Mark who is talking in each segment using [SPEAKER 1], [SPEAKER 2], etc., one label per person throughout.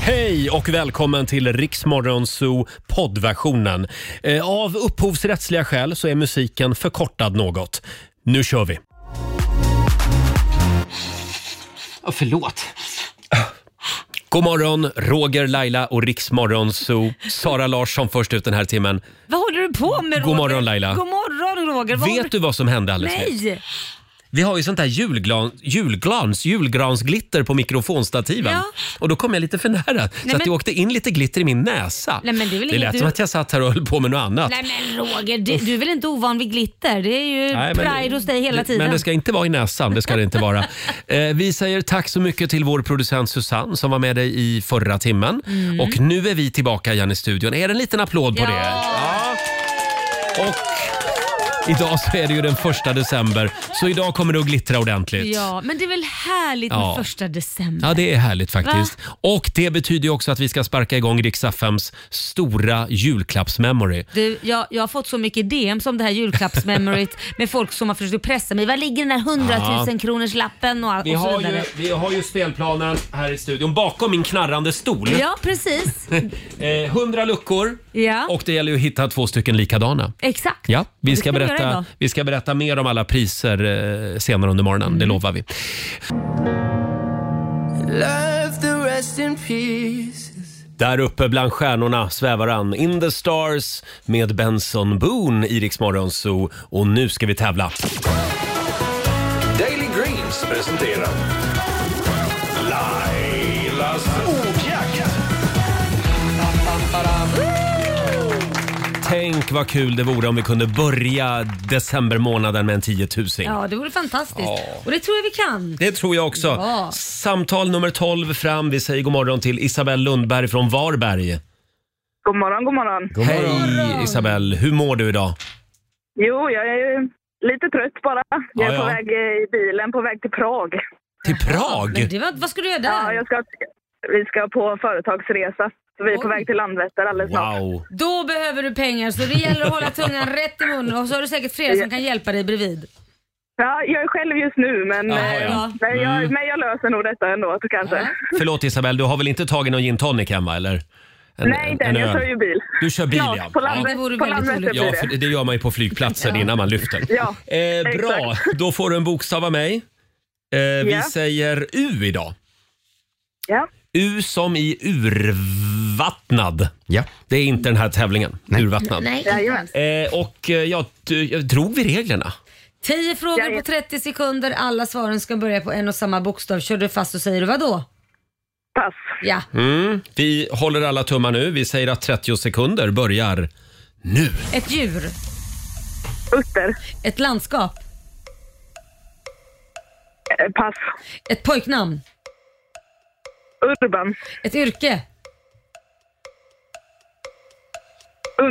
[SPEAKER 1] Hej och välkommen till Riksmorgon Zoo poddversionen. Eh, Av upphovsrättsliga skäl så är musiken förkortad något. Nu kör vi! Oh, förlåt. God morgon, Roger, Laila och Riksmorgon Zoo. Sara Larsson först ut den här timmen.
[SPEAKER 2] Vad håller du på med Roger?
[SPEAKER 1] God morgon, Laila.
[SPEAKER 2] God morgon Roger. Vad håller-
[SPEAKER 1] Vet du vad som hände alldeles nyss?
[SPEAKER 2] Nej!
[SPEAKER 1] Vi har ju sånt där julglans, julglans, julgransglitter på mikrofonstativen.
[SPEAKER 2] Ja.
[SPEAKER 1] Och då kom jag lite för nära, så
[SPEAKER 2] men-
[SPEAKER 1] att det åkte in lite glitter i min näsa.
[SPEAKER 2] Nej, men det är väl inget
[SPEAKER 1] lät
[SPEAKER 2] du-
[SPEAKER 1] som att jag satt här och höll på med något annat.
[SPEAKER 2] Nej men Roger, du, du är väl inte ovan vid glitter? Det är ju
[SPEAKER 1] Nej, men-
[SPEAKER 2] pride hos dig hela tiden.
[SPEAKER 1] Men det ska inte vara i näsan, det ska det inte vara. eh, vi säger tack så mycket till vår producent Susanne som var med dig i förra timmen. Och nu är vi tillbaka igen i studion. Är det en liten applåd på
[SPEAKER 2] Mm. Ja.
[SPEAKER 1] det? Ja. Och idag så är det ju den första december, så idag kommer det att glittra ordentligt.
[SPEAKER 2] Ja, men det är väl härligt
[SPEAKER 1] Ja.
[SPEAKER 2] med första december?
[SPEAKER 1] Ja, det är härligt faktiskt. Och det betyder ju också att vi ska sparka igång Rix FMs stora julklappsmemory.
[SPEAKER 2] Du, jag, jag har fått så mycket DM som det här julklappsmemoryt med folk som har försökt pressa mig. Var ligger den där 100 000 kronors lappen och, all-
[SPEAKER 1] Vi
[SPEAKER 2] och så
[SPEAKER 1] har, ju,
[SPEAKER 2] vidare.
[SPEAKER 1] vi har ju spelplanen här i studion bakom min knarrande stol.
[SPEAKER 2] Ja, precis.
[SPEAKER 1] Eh, 100 luckor
[SPEAKER 2] Ja.
[SPEAKER 1] och det gäller ju att hitta två stycken likadana.
[SPEAKER 2] Exakt.
[SPEAKER 1] Ja, vi
[SPEAKER 2] Det
[SPEAKER 1] ska,
[SPEAKER 2] vi göra
[SPEAKER 1] berätta,
[SPEAKER 2] idag.
[SPEAKER 1] vi ska berätta mer om alla priser eh, senare under morgonen,
[SPEAKER 2] Mm.
[SPEAKER 1] det lovar vi. Där uppe bland stjärnorna svävar han, In the Stars med Benson Boone i Rix Morgon Zoo. Och nu ska vi tävla.
[SPEAKER 3] Daily Greens presenterar Lailas ordjakt.
[SPEAKER 1] Tänk vad kul det vore om vi kunde börja decembermånaden med en tiotusing.
[SPEAKER 2] Ja, det vore fantastiskt. Och det tror jag vi kan.
[SPEAKER 1] Det tror jag också.
[SPEAKER 2] Ja.
[SPEAKER 1] Samtal nummer 12 fram. Vi säger god morgon till Isabelle Lundberg från Varberg.
[SPEAKER 4] God morgon, god morgon.
[SPEAKER 1] Hej Isabelle, hur mår du idag?
[SPEAKER 4] Jo, jag är ju lite trött bara. Jag är
[SPEAKER 1] Ja,
[SPEAKER 4] på
[SPEAKER 1] ja.
[SPEAKER 4] väg eh, i bilen, på väg till Prag.
[SPEAKER 1] Till
[SPEAKER 2] Men
[SPEAKER 1] Prag?
[SPEAKER 2] det var, vad ska du göra
[SPEAKER 4] Ja,
[SPEAKER 2] där?
[SPEAKER 4] jag ska, vi ska på företagsresa. Så vi är på
[SPEAKER 2] Oj.
[SPEAKER 4] väg till Landvetter alldeles snart.
[SPEAKER 1] Wow.
[SPEAKER 2] Då behöver du pengar så det gäller att hålla tungan rätt i munnen och så har du säkert flera som kan hjälpa dig bredvid.
[SPEAKER 4] Ja, jag är själv just nu, men,
[SPEAKER 1] Ja,
[SPEAKER 4] eh,
[SPEAKER 1] ja. Mm.
[SPEAKER 4] men, jag, men jag löser nog detta ändå kanske.
[SPEAKER 1] Förlåt Isabelle, du har väl inte tagit någon gin tonic hemma eller? En-
[SPEAKER 4] Nej, inte än. Jag
[SPEAKER 1] öl.
[SPEAKER 4] kör ju bil.
[SPEAKER 1] Du kör bil
[SPEAKER 4] ja.
[SPEAKER 1] ja.
[SPEAKER 4] På,
[SPEAKER 1] ja.
[SPEAKER 4] Landve-
[SPEAKER 2] det vore
[SPEAKER 4] på
[SPEAKER 2] väldigt
[SPEAKER 4] Landvetter
[SPEAKER 2] roligt.
[SPEAKER 4] blir
[SPEAKER 1] Ja,
[SPEAKER 4] det.
[SPEAKER 1] för det- det gör man ju på flygplatsen innan man lyfter.
[SPEAKER 4] Ja,
[SPEAKER 1] eh, bra, då får du en bokstav av mig. Eh, vi
[SPEAKER 4] Ja.
[SPEAKER 1] säger U idag.
[SPEAKER 4] Ja.
[SPEAKER 1] U som i urvattnad. Ja. Det är inte den här tävlingen. Urvattnad.
[SPEAKER 4] Jajamän.
[SPEAKER 1] Eh, och eh, jag, d- jag drog vi reglerna.
[SPEAKER 2] 10
[SPEAKER 4] Jag
[SPEAKER 2] frågor på
[SPEAKER 4] vet.
[SPEAKER 2] 30 sekunder, alla svaren ska börja på en och samma bokstav. Kör du fast så säger du vadå?
[SPEAKER 4] Pass.
[SPEAKER 2] Ja.
[SPEAKER 1] Mm. Vi håller alla tummar nu. Vi säger att 30 sekunder börjar nu.
[SPEAKER 2] Ett djur,
[SPEAKER 4] Utter.
[SPEAKER 2] ett landskap,
[SPEAKER 4] Eh, Pass.
[SPEAKER 2] ett pojknamn,
[SPEAKER 4] Urban.
[SPEAKER 2] ett yrke,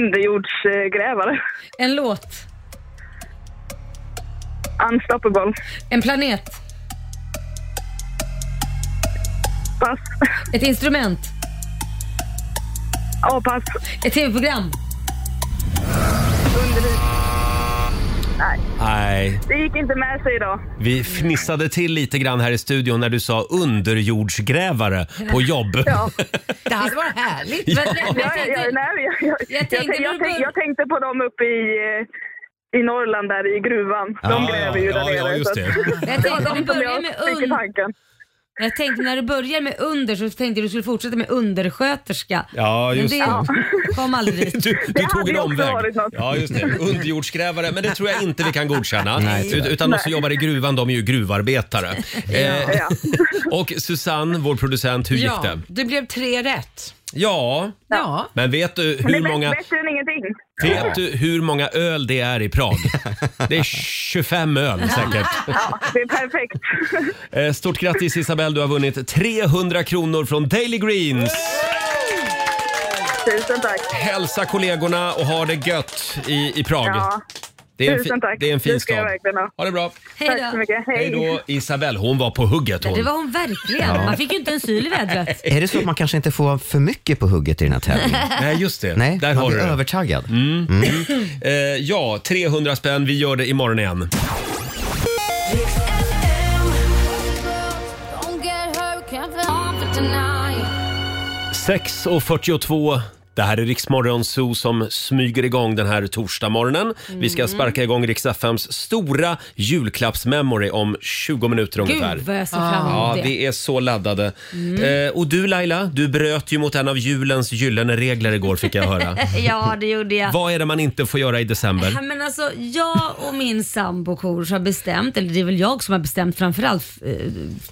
[SPEAKER 4] Underjordsgrävare.
[SPEAKER 2] en låt,
[SPEAKER 4] Unstoppable.
[SPEAKER 2] en planet,
[SPEAKER 4] Pass.
[SPEAKER 2] ett instrument,
[SPEAKER 4] A-pass.
[SPEAKER 2] ett tv-program.
[SPEAKER 1] Nej,
[SPEAKER 4] Det gick inte med sig idag.
[SPEAKER 1] vi fnissade till lite grann här i studion när du sa underjordsgrävare på jobb.
[SPEAKER 4] Ja.
[SPEAKER 2] Det hade varit härligt.
[SPEAKER 4] Ja, ja, ja, nej, jag, jag,
[SPEAKER 2] jag
[SPEAKER 4] jag,
[SPEAKER 2] tänkte
[SPEAKER 4] tänk- jag,
[SPEAKER 2] när du
[SPEAKER 4] tänk-
[SPEAKER 2] bör-
[SPEAKER 4] jag tänkte på dem uppe i, eh, i Norrland där i gruvan. De
[SPEAKER 1] Ja,
[SPEAKER 4] gräver ju
[SPEAKER 1] ja,
[SPEAKER 4] där
[SPEAKER 1] ja,
[SPEAKER 4] nere.
[SPEAKER 1] just
[SPEAKER 4] så att-
[SPEAKER 1] det.
[SPEAKER 2] Jag tänkte när du
[SPEAKER 4] Som
[SPEAKER 2] börjar
[SPEAKER 4] jag
[SPEAKER 2] med
[SPEAKER 4] fick i
[SPEAKER 2] und-
[SPEAKER 4] tanken.
[SPEAKER 2] jag tänkte när du börjar med under så tänkte jag du skulle fortsätta med undersköterska.
[SPEAKER 1] Ja,
[SPEAKER 2] Men
[SPEAKER 1] just det.
[SPEAKER 2] kom aldrig dit.
[SPEAKER 1] Du, du tog
[SPEAKER 4] hade
[SPEAKER 1] en
[SPEAKER 4] ju också
[SPEAKER 1] omväg.
[SPEAKER 4] varit något.
[SPEAKER 1] Ja, just det. Underjordsgrävare, men det tror jag inte vi kan godkänna. Ut- utan de som jobbar i gruvan, de är ju gruvarbetare. Eh,
[SPEAKER 4] Ja.
[SPEAKER 1] och Susanne, vår producent, hur gick det?
[SPEAKER 5] det blev tre rätt.
[SPEAKER 1] Ja,
[SPEAKER 5] Ja.
[SPEAKER 1] men vet du
[SPEAKER 4] Men det
[SPEAKER 1] hur
[SPEAKER 4] är
[SPEAKER 1] många...
[SPEAKER 4] många... bättre än ingenting.
[SPEAKER 1] Vet du hur många öl det är i Prag? Det är 25 öl säkert.
[SPEAKER 4] Ja, det är perfekt.
[SPEAKER 1] Eh, Stort grattis Isabelle, du har vunnit 300 kronor från Daily Greens.
[SPEAKER 4] Tusen tack.
[SPEAKER 1] Hälsa kollegorna och ha det gött i, i Prag.
[SPEAKER 4] Ja,
[SPEAKER 1] det, är en
[SPEAKER 4] tusen tack.
[SPEAKER 1] det är en fin
[SPEAKER 4] Det ska jag
[SPEAKER 1] stad.
[SPEAKER 4] verkligen ha.
[SPEAKER 1] Ha det bra.
[SPEAKER 2] Hej
[SPEAKER 4] tack så
[SPEAKER 2] då.
[SPEAKER 4] mycket.
[SPEAKER 1] Hej
[SPEAKER 4] Hej.
[SPEAKER 1] då Isabelle, hon var på hugget
[SPEAKER 2] Ja, det
[SPEAKER 1] hon.
[SPEAKER 2] var hon verkligen. Man fick ju inte en syl i vädret.
[SPEAKER 5] Är det så att man kanske inte får för mycket på hugget i den här tävlingen?
[SPEAKER 1] Nej just det,
[SPEAKER 5] Nej,
[SPEAKER 1] där
[SPEAKER 5] man
[SPEAKER 1] har du
[SPEAKER 5] blir
[SPEAKER 1] det.
[SPEAKER 5] övertaggad.
[SPEAKER 1] Eh, ja, 300 spänn. Vi gör det imorgon igen. 6.42. Det här är Riksmorgon Zoo som smyger igång den här torsdagmorgonen. Vi
[SPEAKER 2] Mm.
[SPEAKER 1] ska sparka igång Rix FMs stora julklappsmemory om 20 minuter ungefär.
[SPEAKER 2] vad jag ser fram emot
[SPEAKER 1] Ja,
[SPEAKER 2] det. Mm.
[SPEAKER 1] vi är så laddade. Eh, och du Laila, du bröt ju mot en av julens gyllene regler igår fick jag höra.
[SPEAKER 2] Ja, det gjorde jag.
[SPEAKER 1] Vad är det man inte får göra i december?
[SPEAKER 2] Ja, men alltså, jag och min sambo Korosh har bestämt, eller det är väl jag som har bestämt framförallt eh,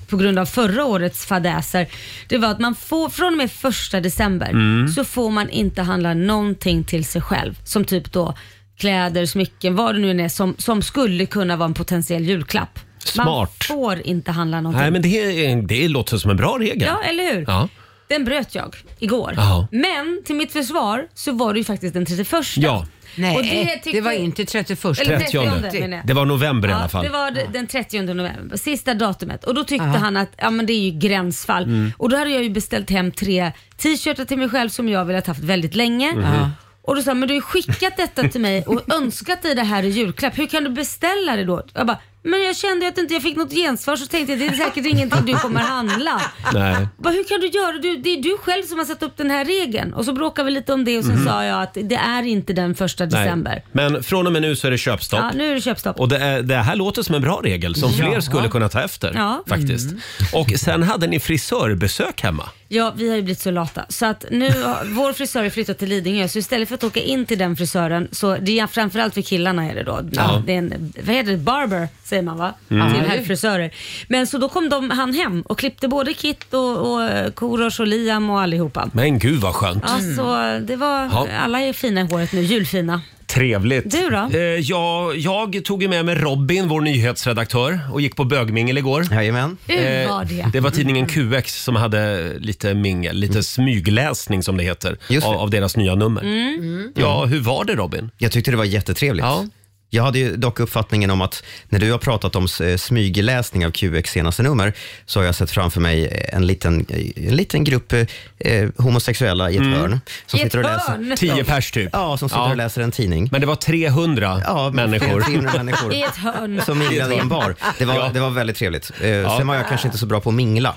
[SPEAKER 2] på grund av förra årets fadäser. Det var att man får, från och med första december
[SPEAKER 1] Mm.
[SPEAKER 2] så får man inte handla någonting till sig själv. Som typ då kläder, smycken, vad det nu än är som, som skulle kunna vara en potentiell julklapp. Man
[SPEAKER 1] Smart.
[SPEAKER 2] får inte handla någonting.
[SPEAKER 1] Nej, men det, är- det låter som en bra regel.
[SPEAKER 2] Ja, eller hur?
[SPEAKER 1] Ja.
[SPEAKER 2] Den bröt jag igår.
[SPEAKER 1] Jaha.
[SPEAKER 2] Men till mitt försvar så var det ju faktiskt den 31.
[SPEAKER 1] Ja,
[SPEAKER 6] Nej,
[SPEAKER 2] Och det
[SPEAKER 6] det,
[SPEAKER 2] tyckte-
[SPEAKER 6] var inte 31.
[SPEAKER 2] Eller
[SPEAKER 1] 30.
[SPEAKER 2] 30 menar jag.
[SPEAKER 1] Det var november i alla fall.
[SPEAKER 2] Det var d- den 30 november, sista datumet. Och då tyckte han att ja, men det är ju gränsfall.
[SPEAKER 1] Mm.
[SPEAKER 2] Och då hade jag ju beställt hem tre t-shirtar till mig själv som jag velat haft väldigt länge.
[SPEAKER 1] Mm.
[SPEAKER 2] Och då sa han, men du har ju skickat detta till mig och önskat dig det här i julklapp. Hur kan du beställa det då? Jag bara, men jag kände ju att inte jag fick något gensvar så tänkte jag det är säkert ingenting du kommer handla.
[SPEAKER 1] Nej.
[SPEAKER 2] Bara, hur kan du göra? Du, det är du själv som har satt upp den här regeln. Och så bråkade vi lite om det och sen sa jag att det är inte den första december.
[SPEAKER 1] Mm-hmm. Nej. Men från och med nu så är det köpstopp.
[SPEAKER 2] Ja, nu är det köpstopp.
[SPEAKER 1] Och det, är, det här låter som en bra regel som fler skulle kunna ta efter.
[SPEAKER 2] Ja. Mm.
[SPEAKER 1] faktiskt. Och sen hade ni frisörbesök hemma.
[SPEAKER 2] Ja, vi har ju blivit så lata. Så att nu har, vår frisör har flyttat till Lidingö, så istället för att åka in till den frisören, så det är framförallt för killarna är det då.
[SPEAKER 1] Ja. Mm.
[SPEAKER 2] Det är en, vad heter det, barber säger man va? Till här frisörer. Men så då kom de, han hem och klippte både Kit och, och Korosh och Liam och allihopa.
[SPEAKER 1] Men gud vad skönt. Mm.
[SPEAKER 2] Ja, så det var,
[SPEAKER 1] Ja.
[SPEAKER 2] alla är fina i håret nu, julfina.
[SPEAKER 1] Trevligt.
[SPEAKER 2] Du då?
[SPEAKER 1] Eh, jag, jag tog ju med mig Robin, vår nyhetsredaktör, och gick på bögmingel igår.
[SPEAKER 5] Jajamän.
[SPEAKER 2] Hur
[SPEAKER 1] Eh,
[SPEAKER 2] var det?
[SPEAKER 1] det var tidningen QX som hade lite mingel, lite smygläsning som det heter,
[SPEAKER 5] Mm. Just
[SPEAKER 1] av,
[SPEAKER 5] det.
[SPEAKER 1] av deras nya nummer.
[SPEAKER 2] Mm.
[SPEAKER 1] Mm. Ja, hur var det Robin?
[SPEAKER 5] Jag tyckte det var jättetrevligt.
[SPEAKER 1] Ja.
[SPEAKER 5] Jag hade ju dock uppfattningen om att när du har pratat om eh, smygläsning av QX senaste nummer så har jag sett framför mig en liten, en liten grupp eh, eh, homosexuella i ett hörn. Som
[SPEAKER 2] I ett
[SPEAKER 5] sitter och läser,
[SPEAKER 2] hörn?
[SPEAKER 1] Mm. Tio pers typ.
[SPEAKER 5] ja, som sitter
[SPEAKER 1] Ja.
[SPEAKER 5] och läser en tidning.
[SPEAKER 1] Men det var 300
[SPEAKER 5] ja,
[SPEAKER 1] människor.
[SPEAKER 5] 300 människor.
[SPEAKER 2] I ett hörn.
[SPEAKER 5] Som minglade i en bar. Det var,
[SPEAKER 1] Ja.
[SPEAKER 5] det var väldigt trevligt. Eh, Sen var jag kanske inte så bra på att mingla.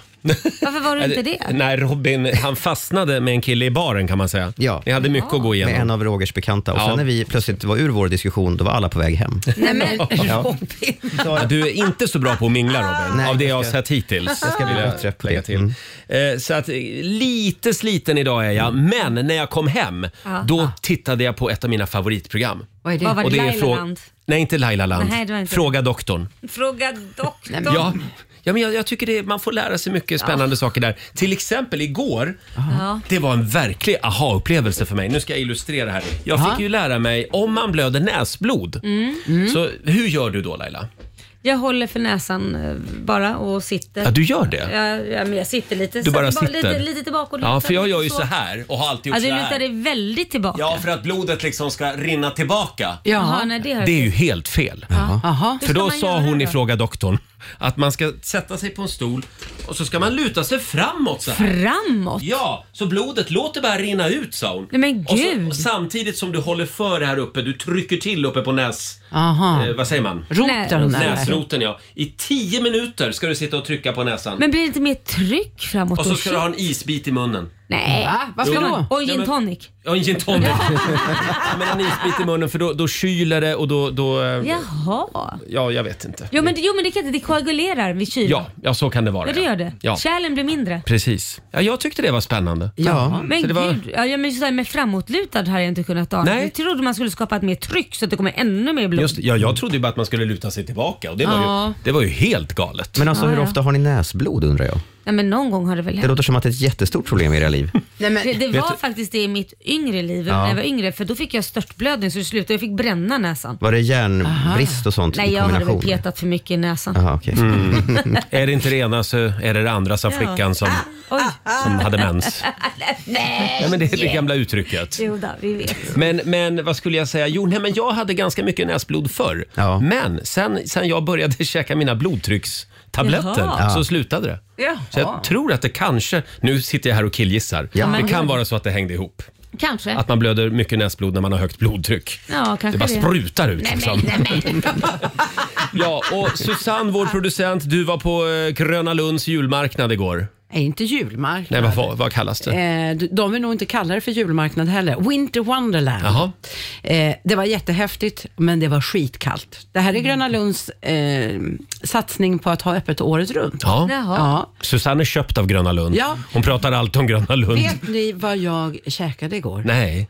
[SPEAKER 2] Varför var du inte det?
[SPEAKER 1] Nej, Robin han fastnade med en kille i baren kan man säga.
[SPEAKER 5] Ja.
[SPEAKER 1] Ni hade mycket att gå
[SPEAKER 5] med en
[SPEAKER 1] igenom.
[SPEAKER 5] av Rogers bekanta. Och
[SPEAKER 1] Ja.
[SPEAKER 5] sen när vi plötsligt var ur vår diskussion, då var alla på väg hem.
[SPEAKER 2] Nej, men,
[SPEAKER 5] Ja.
[SPEAKER 1] Ja, Du är inte så bra på att mingla Robin,
[SPEAKER 5] Nej,
[SPEAKER 1] av det jag har
[SPEAKER 5] jag ska-
[SPEAKER 1] sett hittills.
[SPEAKER 5] jag ska bli
[SPEAKER 1] vill jag
[SPEAKER 5] bättre på Mm.
[SPEAKER 1] lägga
[SPEAKER 5] det.
[SPEAKER 1] till. Eh, Så att eh, lite sliten idag är jag,
[SPEAKER 5] Mm.
[SPEAKER 1] men när jag kom hem då tittade jag på ett av mina favoritprogram.
[SPEAKER 6] Vad är det?
[SPEAKER 2] Vad var det?
[SPEAKER 1] Och det är
[SPEAKER 2] Lailaland?
[SPEAKER 1] Nej, inte Lailaland.
[SPEAKER 2] Nej, det var inte
[SPEAKER 1] Fråga doktorn.
[SPEAKER 2] fråga doktorn.
[SPEAKER 1] Ja, ja men jag, jag tycker det, man får lära sig mycket spännande saker där. Till exempel igår,
[SPEAKER 2] Ja.
[SPEAKER 1] det var en verklig aha-upplevelse för mig. Nu ska jag illustrera här. Jag fick ju lära mig om man blöder näsblod.
[SPEAKER 2] Mm.
[SPEAKER 1] Så hur gör du då Laila?
[SPEAKER 2] Jag håller för näsan eh, bara och sitter.
[SPEAKER 1] Ja, du gör det?
[SPEAKER 2] Jag, jag, men jag sitter lite.
[SPEAKER 1] Du bara
[SPEAKER 2] så,
[SPEAKER 1] sitter?
[SPEAKER 2] Lite, lite tillbaka och
[SPEAKER 1] Ja,
[SPEAKER 2] lutar
[SPEAKER 1] för jag
[SPEAKER 2] lite
[SPEAKER 1] gör ju så här och har alltid gjort
[SPEAKER 2] Ja,
[SPEAKER 1] så
[SPEAKER 2] du lutar dig
[SPEAKER 1] här.
[SPEAKER 2] väldigt tillbaka.
[SPEAKER 1] Ja, för att blodet liksom ska rinna tillbaka.
[SPEAKER 2] Jaha,
[SPEAKER 6] Ja.
[SPEAKER 2] nej, det har jag
[SPEAKER 1] Det är ju helt fel.
[SPEAKER 6] Jaha.
[SPEAKER 1] För då
[SPEAKER 2] man
[SPEAKER 1] sa
[SPEAKER 2] göra
[SPEAKER 1] hon i
[SPEAKER 2] då?
[SPEAKER 1] Fråga doktorn att man ska sätta sig på en stol och så ska man luta sig framåt så här.
[SPEAKER 2] Framåt?
[SPEAKER 1] Ja, så blodet låter bara rinna ut sa hon.
[SPEAKER 2] Nej, men
[SPEAKER 1] Och, så,
[SPEAKER 2] gud.
[SPEAKER 1] och samtidigt som du håller för här uppe, du trycker till uppe på näs...
[SPEAKER 6] Aha.
[SPEAKER 1] Eh, vad säger man?
[SPEAKER 6] Roten
[SPEAKER 2] Nej.
[SPEAKER 6] där.
[SPEAKER 1] Näsroten ja. I tio minuter ska du sitta och trycka på näsan.
[SPEAKER 2] Men blir det inte mer tryck framåt?
[SPEAKER 1] och så
[SPEAKER 2] då?
[SPEAKER 1] ska du ha en isbit i munnen.
[SPEAKER 2] Nej.
[SPEAKER 6] Va? Varför
[SPEAKER 2] Ska
[SPEAKER 6] då?
[SPEAKER 2] man? Och en
[SPEAKER 1] Nej,
[SPEAKER 2] gin
[SPEAKER 1] men-
[SPEAKER 2] tonic.
[SPEAKER 1] Ja, en gin tonic. Ja, men en isbit i munnen för då, då kyler det och då... då eh, ja.
[SPEAKER 2] Jaha.
[SPEAKER 1] jag vet inte.
[SPEAKER 2] Jo men, jo, men det kan inte. Det koagulerar vid kyla.
[SPEAKER 1] Ja, ja, så kan det vara.
[SPEAKER 2] Ja, det gör det.
[SPEAKER 1] Ja,
[SPEAKER 2] Kärlen blir mindre.
[SPEAKER 1] precis. Ja, jag tyckte det var spännande.
[SPEAKER 5] Ja.
[SPEAKER 2] Men
[SPEAKER 1] Så det var-
[SPEAKER 2] gud, ja, ja, men just det här med framåtlutad hade jag inte kunnat ana.
[SPEAKER 1] Nej.
[SPEAKER 2] Jag trodde man skulle skapa ett mer tryck så att det kommer ännu mer blod.
[SPEAKER 1] Just, det. ja, jag trodde ju bara att man skulle luta sig tillbaka och det var, ju, det var ju helt galet.
[SPEAKER 5] Men alltså,
[SPEAKER 2] Ja,
[SPEAKER 5] hur
[SPEAKER 2] ja.
[SPEAKER 5] ofta har ni näsblod undrar jag?
[SPEAKER 2] Nej, men någon gång har det väl
[SPEAKER 5] Det
[SPEAKER 2] hänt.
[SPEAKER 5] låter som att det är ett jättestort problem i era liv.
[SPEAKER 6] Nej, men,
[SPEAKER 2] Det, det var
[SPEAKER 1] du-
[SPEAKER 2] faktiskt det i mitt yngre liv, när jag var yngre, för då fick jag störtblödning så det slutade. Jag fick bränna näsan.
[SPEAKER 5] Var det järnbrist och sånt
[SPEAKER 2] Nej,
[SPEAKER 5] i
[SPEAKER 2] jag hade väl
[SPEAKER 5] kombination?
[SPEAKER 2] petat för mycket i näsan.
[SPEAKER 5] Aha, okay.
[SPEAKER 1] Mm. Är det inte det ena så är det det andra, sa flickan som,
[SPEAKER 2] Oj.
[SPEAKER 1] som hade mens. Nej, men det är det gamla uttrycket.
[SPEAKER 2] Jo då, vi vet.
[SPEAKER 1] Men, men vad skulle jag säga? Jo, nej, men jag hade ganska mycket näsblod förr.
[SPEAKER 5] Ja.
[SPEAKER 1] Men sen, sen jag började käka mina blodtryckstabletter
[SPEAKER 2] Jaha.
[SPEAKER 1] så slutade det.
[SPEAKER 6] Jaha.
[SPEAKER 1] Så jag tror att det kanske, nu sitter jag här och killgissar,
[SPEAKER 5] Ja.
[SPEAKER 1] det kan vara så att det hängde ihop.
[SPEAKER 2] Kanske.
[SPEAKER 1] Att man blöder mycket näsblod när man har högt blodtryck.
[SPEAKER 2] Ja, kanske
[SPEAKER 1] det bara
[SPEAKER 2] det.
[SPEAKER 1] sprutar ut
[SPEAKER 2] Nej,
[SPEAKER 1] liksom.
[SPEAKER 2] men, nej, men.
[SPEAKER 1] Ja, och Susanne, vår producent, du var på eh, Gröna Lunds julmarknad igår.
[SPEAKER 6] Nej, inte julmarknad.
[SPEAKER 1] Nej, vad, vad, vad kallas det?
[SPEAKER 6] Eh, d- de vill nog inte kalla det för julmarknad heller. Winter Wonderland.
[SPEAKER 1] Jaha.
[SPEAKER 6] Eh, det var jättehäftigt, men det var skitkallt. Det
[SPEAKER 4] Mm.
[SPEAKER 6] här är Gröna Lunds eh, satsning på att ha öppet året runt.
[SPEAKER 1] Ja.
[SPEAKER 2] Jaha.
[SPEAKER 6] Ja.
[SPEAKER 1] Susanne är köpt av Gröna Lund.
[SPEAKER 6] Ja.
[SPEAKER 1] Hon pratar allt om Gröna Lund.
[SPEAKER 6] Vet ni vad jag käkade igår?
[SPEAKER 1] Nej.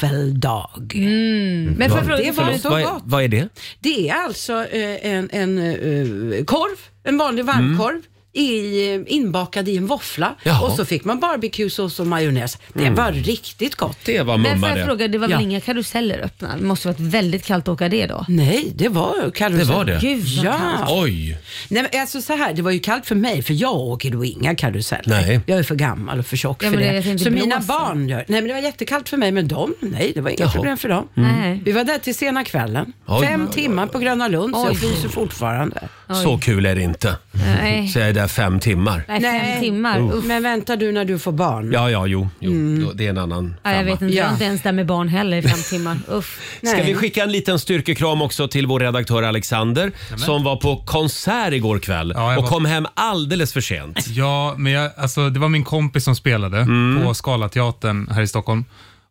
[SPEAKER 6] Vaffeldag.
[SPEAKER 4] Mm.
[SPEAKER 2] Men får jag fråga,
[SPEAKER 6] Det var
[SPEAKER 2] förlåt.
[SPEAKER 6] så
[SPEAKER 1] vad, är,
[SPEAKER 6] gott. Mm,
[SPEAKER 1] vad är det?
[SPEAKER 6] Det är alltså eh, en, en eh, korv, en vanlig varmkorv. I, eh, inbakad i en våffla
[SPEAKER 1] Jaha. Mm.
[SPEAKER 6] och så fick man barbecuesås och majonnäs. Det var riktigt gott.
[SPEAKER 1] Det var
[SPEAKER 2] Men får
[SPEAKER 1] mumma
[SPEAKER 2] jag
[SPEAKER 1] det.
[SPEAKER 2] fråga, det var väl
[SPEAKER 6] Ja.
[SPEAKER 2] inga karuseller öppna? Det måste varit väldigt kallt att åka det då.
[SPEAKER 6] Nej, det var karusell.
[SPEAKER 1] Det var det?
[SPEAKER 2] Gud vad
[SPEAKER 6] Ja.
[SPEAKER 1] Oj.
[SPEAKER 6] Nej, men alltså så här, det var ju kallt för mig, för jag åker då inga karuseller.
[SPEAKER 1] Nej.
[SPEAKER 6] Jag är för gammal och för tjock
[SPEAKER 2] Ja,
[SPEAKER 6] för
[SPEAKER 2] men det-
[SPEAKER 6] det.
[SPEAKER 2] jag tänkte
[SPEAKER 6] så mina
[SPEAKER 2] blåsa.
[SPEAKER 6] barn gör... Nej, men det var jättekallt för mig, men de, nej, det var inga
[SPEAKER 1] Jaha.
[SPEAKER 6] problem för dem.
[SPEAKER 2] Nej.
[SPEAKER 6] Vi var där till sena kvällen.
[SPEAKER 1] Oj.
[SPEAKER 6] Fem
[SPEAKER 1] Oj, oj,
[SPEAKER 6] timmar på Gröna Lund, så
[SPEAKER 2] Mm. Oj.
[SPEAKER 6] jag fryser fortfarande.
[SPEAKER 1] Så kul är det inte.
[SPEAKER 2] Nej.
[SPEAKER 1] Så jag är där fem timmar.
[SPEAKER 2] Nej, fem timmar. Uff.
[SPEAKER 6] Men väntar du när du får barn?
[SPEAKER 1] Ja, ja, jo. jo.
[SPEAKER 6] Mm.
[SPEAKER 1] Då- Det är en annan
[SPEAKER 2] Ja, jag
[SPEAKER 1] femma.
[SPEAKER 2] vet inte, jag är
[SPEAKER 6] Ja.
[SPEAKER 2] inte ens där med barn heller i fem timmar. Uff.
[SPEAKER 1] Ska
[SPEAKER 6] Nej.
[SPEAKER 1] vi skicka en liten styrkekram också till vår redaktör Alexander som var på konsert igår kväll
[SPEAKER 7] Ja, jag
[SPEAKER 1] och
[SPEAKER 7] var-
[SPEAKER 1] kom hem alldeles för sent.
[SPEAKER 7] Ja, men jag, alltså, det var min kompis som spelade
[SPEAKER 1] Mm.
[SPEAKER 7] på Scalateatern här i Stockholm.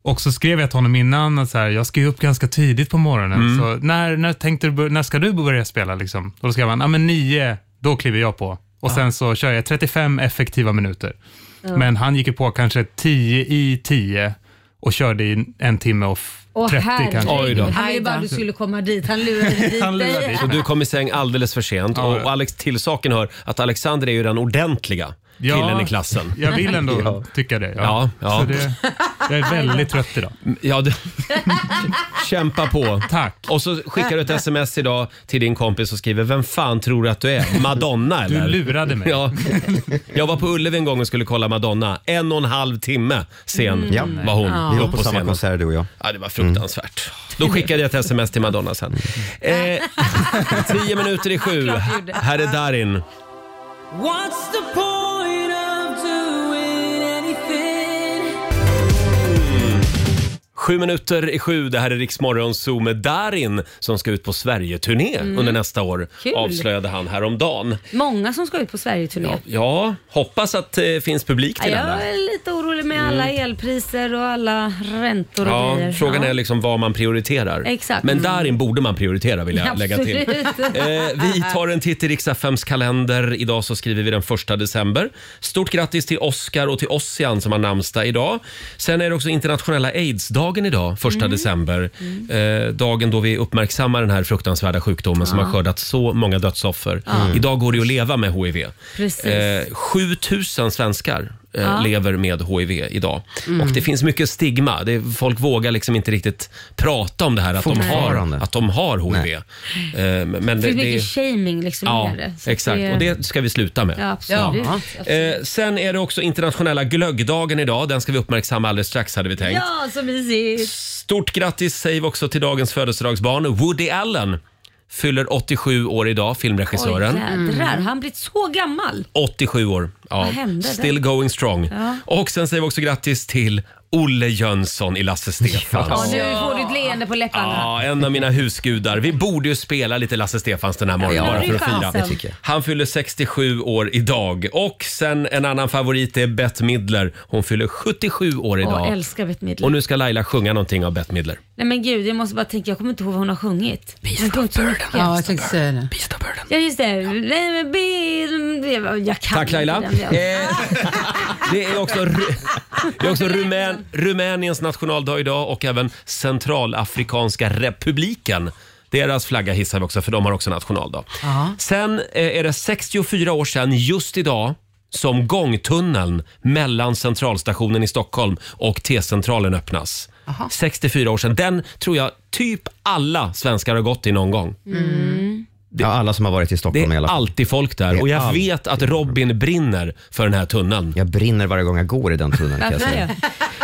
[SPEAKER 7] Och så skrev jag till honom innan att så här, jag ska ju upp ganska tidigt på morgonen.
[SPEAKER 1] Mm.
[SPEAKER 7] Så när, när, tänkte du, bör- när ska du börja spela? Liksom? Och då skrev han, ja men nio, då kliver jag på. Och sen så kör jag 35 effektiva minuter. Men han gick ju på kanske 10 i 10 och körde i en timme och f-
[SPEAKER 2] Åh
[SPEAKER 7] 30 kanske.
[SPEAKER 1] Oj
[SPEAKER 2] herregud,
[SPEAKER 1] då.
[SPEAKER 2] han ville bara att du skulle komma dit. Han lurade dit
[SPEAKER 7] Han lurade
[SPEAKER 2] dig.
[SPEAKER 7] dit.
[SPEAKER 1] Så du kom i säng alldeles för sent
[SPEAKER 7] Ja.
[SPEAKER 1] och, och Alex till saken hör att Alexander är ju den ordentliga
[SPEAKER 7] Ja.
[SPEAKER 1] killen i klassen.
[SPEAKER 7] Jag vill ändå
[SPEAKER 1] Ja.
[SPEAKER 7] tycka det.
[SPEAKER 1] Ja, ja.
[SPEAKER 7] Så det, jag är väldigt trött idag.
[SPEAKER 1] Ja, du... Kämpa på.
[SPEAKER 7] Tack.
[SPEAKER 1] Och så skickar du ett sms idag till din kompis och skriver “Vem fan tror du att du är? Madonna eller?”
[SPEAKER 7] Du lurade mig.
[SPEAKER 1] Ja. Jag var på Ullevi en gång och skulle kolla Madonna. En och en halv timme sen
[SPEAKER 5] Mm. Ja.
[SPEAKER 1] var hon
[SPEAKER 5] Vi var
[SPEAKER 1] upp
[SPEAKER 5] på, samma
[SPEAKER 1] på scenen.
[SPEAKER 5] konsert du och jag. Mm.
[SPEAKER 1] Ja, det var fruktansvärt. Då skickade jag ett sms till Madonna sen. Eh, tio minuter i sju. Här är Darin.
[SPEAKER 6] What's the point of doing anything?
[SPEAKER 1] Sju minuter i sju, det här är Riksmorgon Zoo med Darin som ska ut på Sverige-turné under nästa år.
[SPEAKER 2] Kul.
[SPEAKER 1] Avslöjade han häromdagen.
[SPEAKER 2] Många som ska ut på Sverigeturné. Ja,
[SPEAKER 1] Ja, hoppas att det finns publik till den
[SPEAKER 2] jag
[SPEAKER 1] där.
[SPEAKER 2] är lite orolig med alla elpriser och alla räntor och
[SPEAKER 1] Mm. Ja,
[SPEAKER 2] grejer.
[SPEAKER 1] frågan
[SPEAKER 2] Ja.
[SPEAKER 1] är liksom vad man prioriterar.
[SPEAKER 2] Exakt.
[SPEAKER 1] Men
[SPEAKER 2] Mm.
[SPEAKER 1] Darin borde man prioritera vill jag lägga till.
[SPEAKER 2] Absolut.
[SPEAKER 1] Eh, vi tar en titt i Riks-FMs kalender. Idag så skriver vi den 1 december. Stort grattis till Oscar och till Ossian som har namnsdag idag. Sen är det också internationella aidsdagen idag, 1
[SPEAKER 2] Mm.
[SPEAKER 1] december. Eh, dagen då vi uppmärksammar den här fruktansvärda sjukdomen som har skördat så många dödsoffer. Idag går det ju att leva med HIV.
[SPEAKER 2] Precis.
[SPEAKER 1] Eh, 7 000 svenskar eh, lever med HIV idag.
[SPEAKER 2] Mm.
[SPEAKER 1] Och det finns mycket stigma. Det, folk vågar liksom inte riktigt prata om det här att, de har,
[SPEAKER 5] Fortfarande.
[SPEAKER 1] att de har HIV. Eh, men
[SPEAKER 2] Det
[SPEAKER 1] det,
[SPEAKER 2] är mycket
[SPEAKER 1] det,
[SPEAKER 2] shaming liksom
[SPEAKER 1] ja,
[SPEAKER 2] med det. Så
[SPEAKER 1] exakt.
[SPEAKER 2] det-
[SPEAKER 1] Och det ska vi sluta med.
[SPEAKER 2] Ja, absolut.
[SPEAKER 6] Ja.
[SPEAKER 1] Eh, sen är det också internationella glöggdagen idag. Den ska vi uppmärksamma alldeles strax hade vi tänkt.
[SPEAKER 2] Ja, så mysigt.
[SPEAKER 1] Stort grattis säger vi också till dagens födelsedagsbarn. Woody Allen fyller 87 år idag,
[SPEAKER 2] Oj,
[SPEAKER 1] filmregissören.
[SPEAKER 2] jädrar.
[SPEAKER 1] Mm.
[SPEAKER 2] Han blivit så gammal.
[SPEAKER 1] 87 år. Ja.
[SPEAKER 2] hände där?
[SPEAKER 1] Still going strong. Och sen säger vi också grattis till Olle Jönsson i Lasse
[SPEAKER 2] Ja,
[SPEAKER 1] Stefans.
[SPEAKER 2] nu får du ett leende på läpparna.
[SPEAKER 1] Ja, en av mina husgudar. Vi borde ju spela lite Lasse Stefans den här morgonen
[SPEAKER 2] Ja,
[SPEAKER 1] bara
[SPEAKER 2] det
[SPEAKER 1] för
[SPEAKER 2] är
[SPEAKER 1] att
[SPEAKER 2] chansen.
[SPEAKER 1] fira.
[SPEAKER 2] Det tycker jag.
[SPEAKER 1] Han fyller 67 år idag. Och sen en annan favorit är Bette Midler. Hon fyller 77 år
[SPEAKER 2] Åh,
[SPEAKER 1] idag.
[SPEAKER 2] älskar Bette Midler.
[SPEAKER 1] Och nu ska Laila sjunga någonting av Bette Midler.
[SPEAKER 2] Nej men gud, jag måste bara tänka, jag kommer inte ihåg vad hon har sjungit. Hon har sjungit så mycket.
[SPEAKER 6] Ja, jag tänkte säga det.
[SPEAKER 2] Ja just det. Nej, men be- Jag kan
[SPEAKER 1] Tack Laila.
[SPEAKER 2] inte den.
[SPEAKER 1] Eh, Det är också, Ru- det är också Rumän, Rumäniens nationaldag idag och även Centralafrikanska republiken. Deras flagga hissar vi också för de har också nationaldag. Sen eh, är det 64 år sedan just idag som gångtunneln mellan Centralstationen i Stockholm och T-centralen öppnas. 64 år sedan. Den tror jag typ alla svenskar har gått i någon gång.
[SPEAKER 5] Ja, alla som har varit i
[SPEAKER 1] Det
[SPEAKER 5] Stockholm i
[SPEAKER 1] är
[SPEAKER 5] alla fall.
[SPEAKER 1] alltid folk där
[SPEAKER 5] är
[SPEAKER 1] och jag
[SPEAKER 5] alltid
[SPEAKER 1] vet att Robin brinner för den här tunneln.
[SPEAKER 5] Jag brinner varje gång jag går i den tunneln kan jag
[SPEAKER 2] Varför
[SPEAKER 5] säga.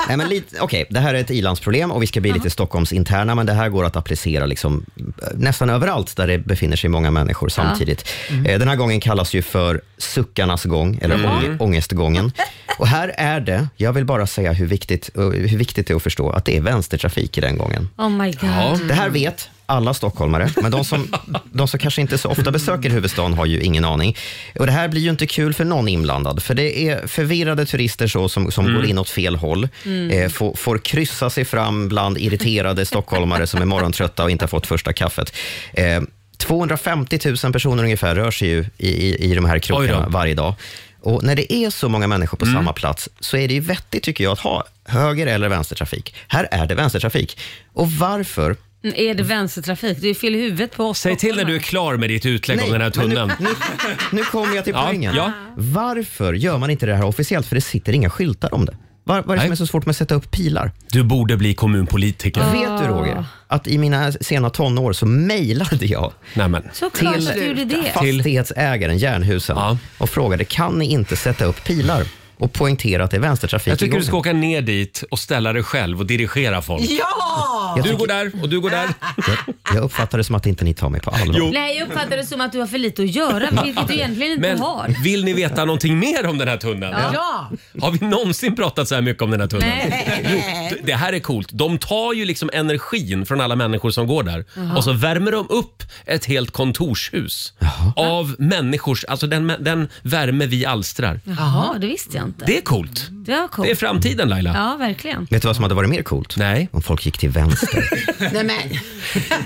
[SPEAKER 5] Nej, men lite, okej, det här är ett ilandsproblem och vi ska bli lite Stockholmsinterna, men det här går att applicera liksom, eh, nästan överallt där det befinner sig många människor samtidigt. Eh, Den här gången kallas ju för suckarnas gång, eller ång- ångestgången. Och här är det, jag vill bara säga hur viktigt, eh, hur viktigt det är att förstå att det är vänstertrafik i den gången.
[SPEAKER 2] Oh my god.
[SPEAKER 1] Ja.
[SPEAKER 5] Det här vet alla stockholmare, men de som, de som kanske inte så ofta besöker huvudstaden har ju ingen aning. Och Det här blir ju inte kul för någon inblandad, för det är förvirrade turister så som, som går in åt fel håll, eh, får, får kryssa sig fram bland irriterade stockholmare som är morgontrötta och inte har fått första kaffet. Eh, 250 000 personer ungefär rör sig ju i, i, i de här krokarna
[SPEAKER 1] Oj då. Mm.
[SPEAKER 5] varje dag. Och när det är så många människor på samma plats så är det ju vettigt tycker jag att ha höger eller vänstertrafik. Här är det vänstertrafik. Och varför?
[SPEAKER 2] Mm, Är det vänstertrafik? Du är fel i huvudet på oss.
[SPEAKER 1] Säg till när du är klar med ditt utlägg om den här
[SPEAKER 5] men
[SPEAKER 1] tunneln.
[SPEAKER 5] Nu, nu, nu kommer jag till
[SPEAKER 1] Ja,
[SPEAKER 5] poängen.
[SPEAKER 1] ja.
[SPEAKER 5] Varför gör man inte det här officiellt? För det sitter inga skyltar om det. Var, vad är det som
[SPEAKER 1] Nej.
[SPEAKER 5] är så svårt med att sätta upp pilar?
[SPEAKER 1] Du borde bli kommunpolitiker.
[SPEAKER 5] Vet du Roger, att i mina sena tonår så mejlade jag
[SPEAKER 1] Nämen.
[SPEAKER 2] Såklart
[SPEAKER 5] till-
[SPEAKER 2] att du gjorde det.
[SPEAKER 5] fastighetsägaren Jernhusen
[SPEAKER 1] Ja.
[SPEAKER 5] och frågade kan ni inte sätta upp pilar och poängtera att det är vänstertrafik
[SPEAKER 1] Jag
[SPEAKER 5] i
[SPEAKER 1] tycker du
[SPEAKER 5] gången?"
[SPEAKER 1] ska åka ner dit och ställa dig själv och dirigera folk.
[SPEAKER 6] Ja!
[SPEAKER 5] jag,
[SPEAKER 1] Du
[SPEAKER 5] tycker,
[SPEAKER 1] går där och du går där.
[SPEAKER 5] jag, jag uppfattar det som att inte ni tar mig på allvar.
[SPEAKER 1] Jo.
[SPEAKER 2] Nej, jag uppfattar det som att du har för lite att göra, vilket du egentligen inte
[SPEAKER 1] Men
[SPEAKER 2] har.
[SPEAKER 1] vill ni veta någonting mer om den här tunneln?
[SPEAKER 6] Ja!
[SPEAKER 1] Har vi någonsin pratat så här mycket om den här tunneln?
[SPEAKER 2] Nej.
[SPEAKER 1] Jo, det här är coolt. De tar ju liksom energin från alla människor som går där och så värmer de upp ett helt kontorshus av människors, alltså den, den värme vi alstrar.
[SPEAKER 2] Jaha, det visste jag inte.
[SPEAKER 1] Det är coolt.
[SPEAKER 2] Det var
[SPEAKER 1] Det är
[SPEAKER 2] Mm. coolt.
[SPEAKER 1] framtiden Laila.
[SPEAKER 2] Ja, verkligen.
[SPEAKER 5] Vet du vad som hade varit mer coolt?
[SPEAKER 1] Nej.
[SPEAKER 5] Om folk gick till vänster.
[SPEAKER 6] Nej, men.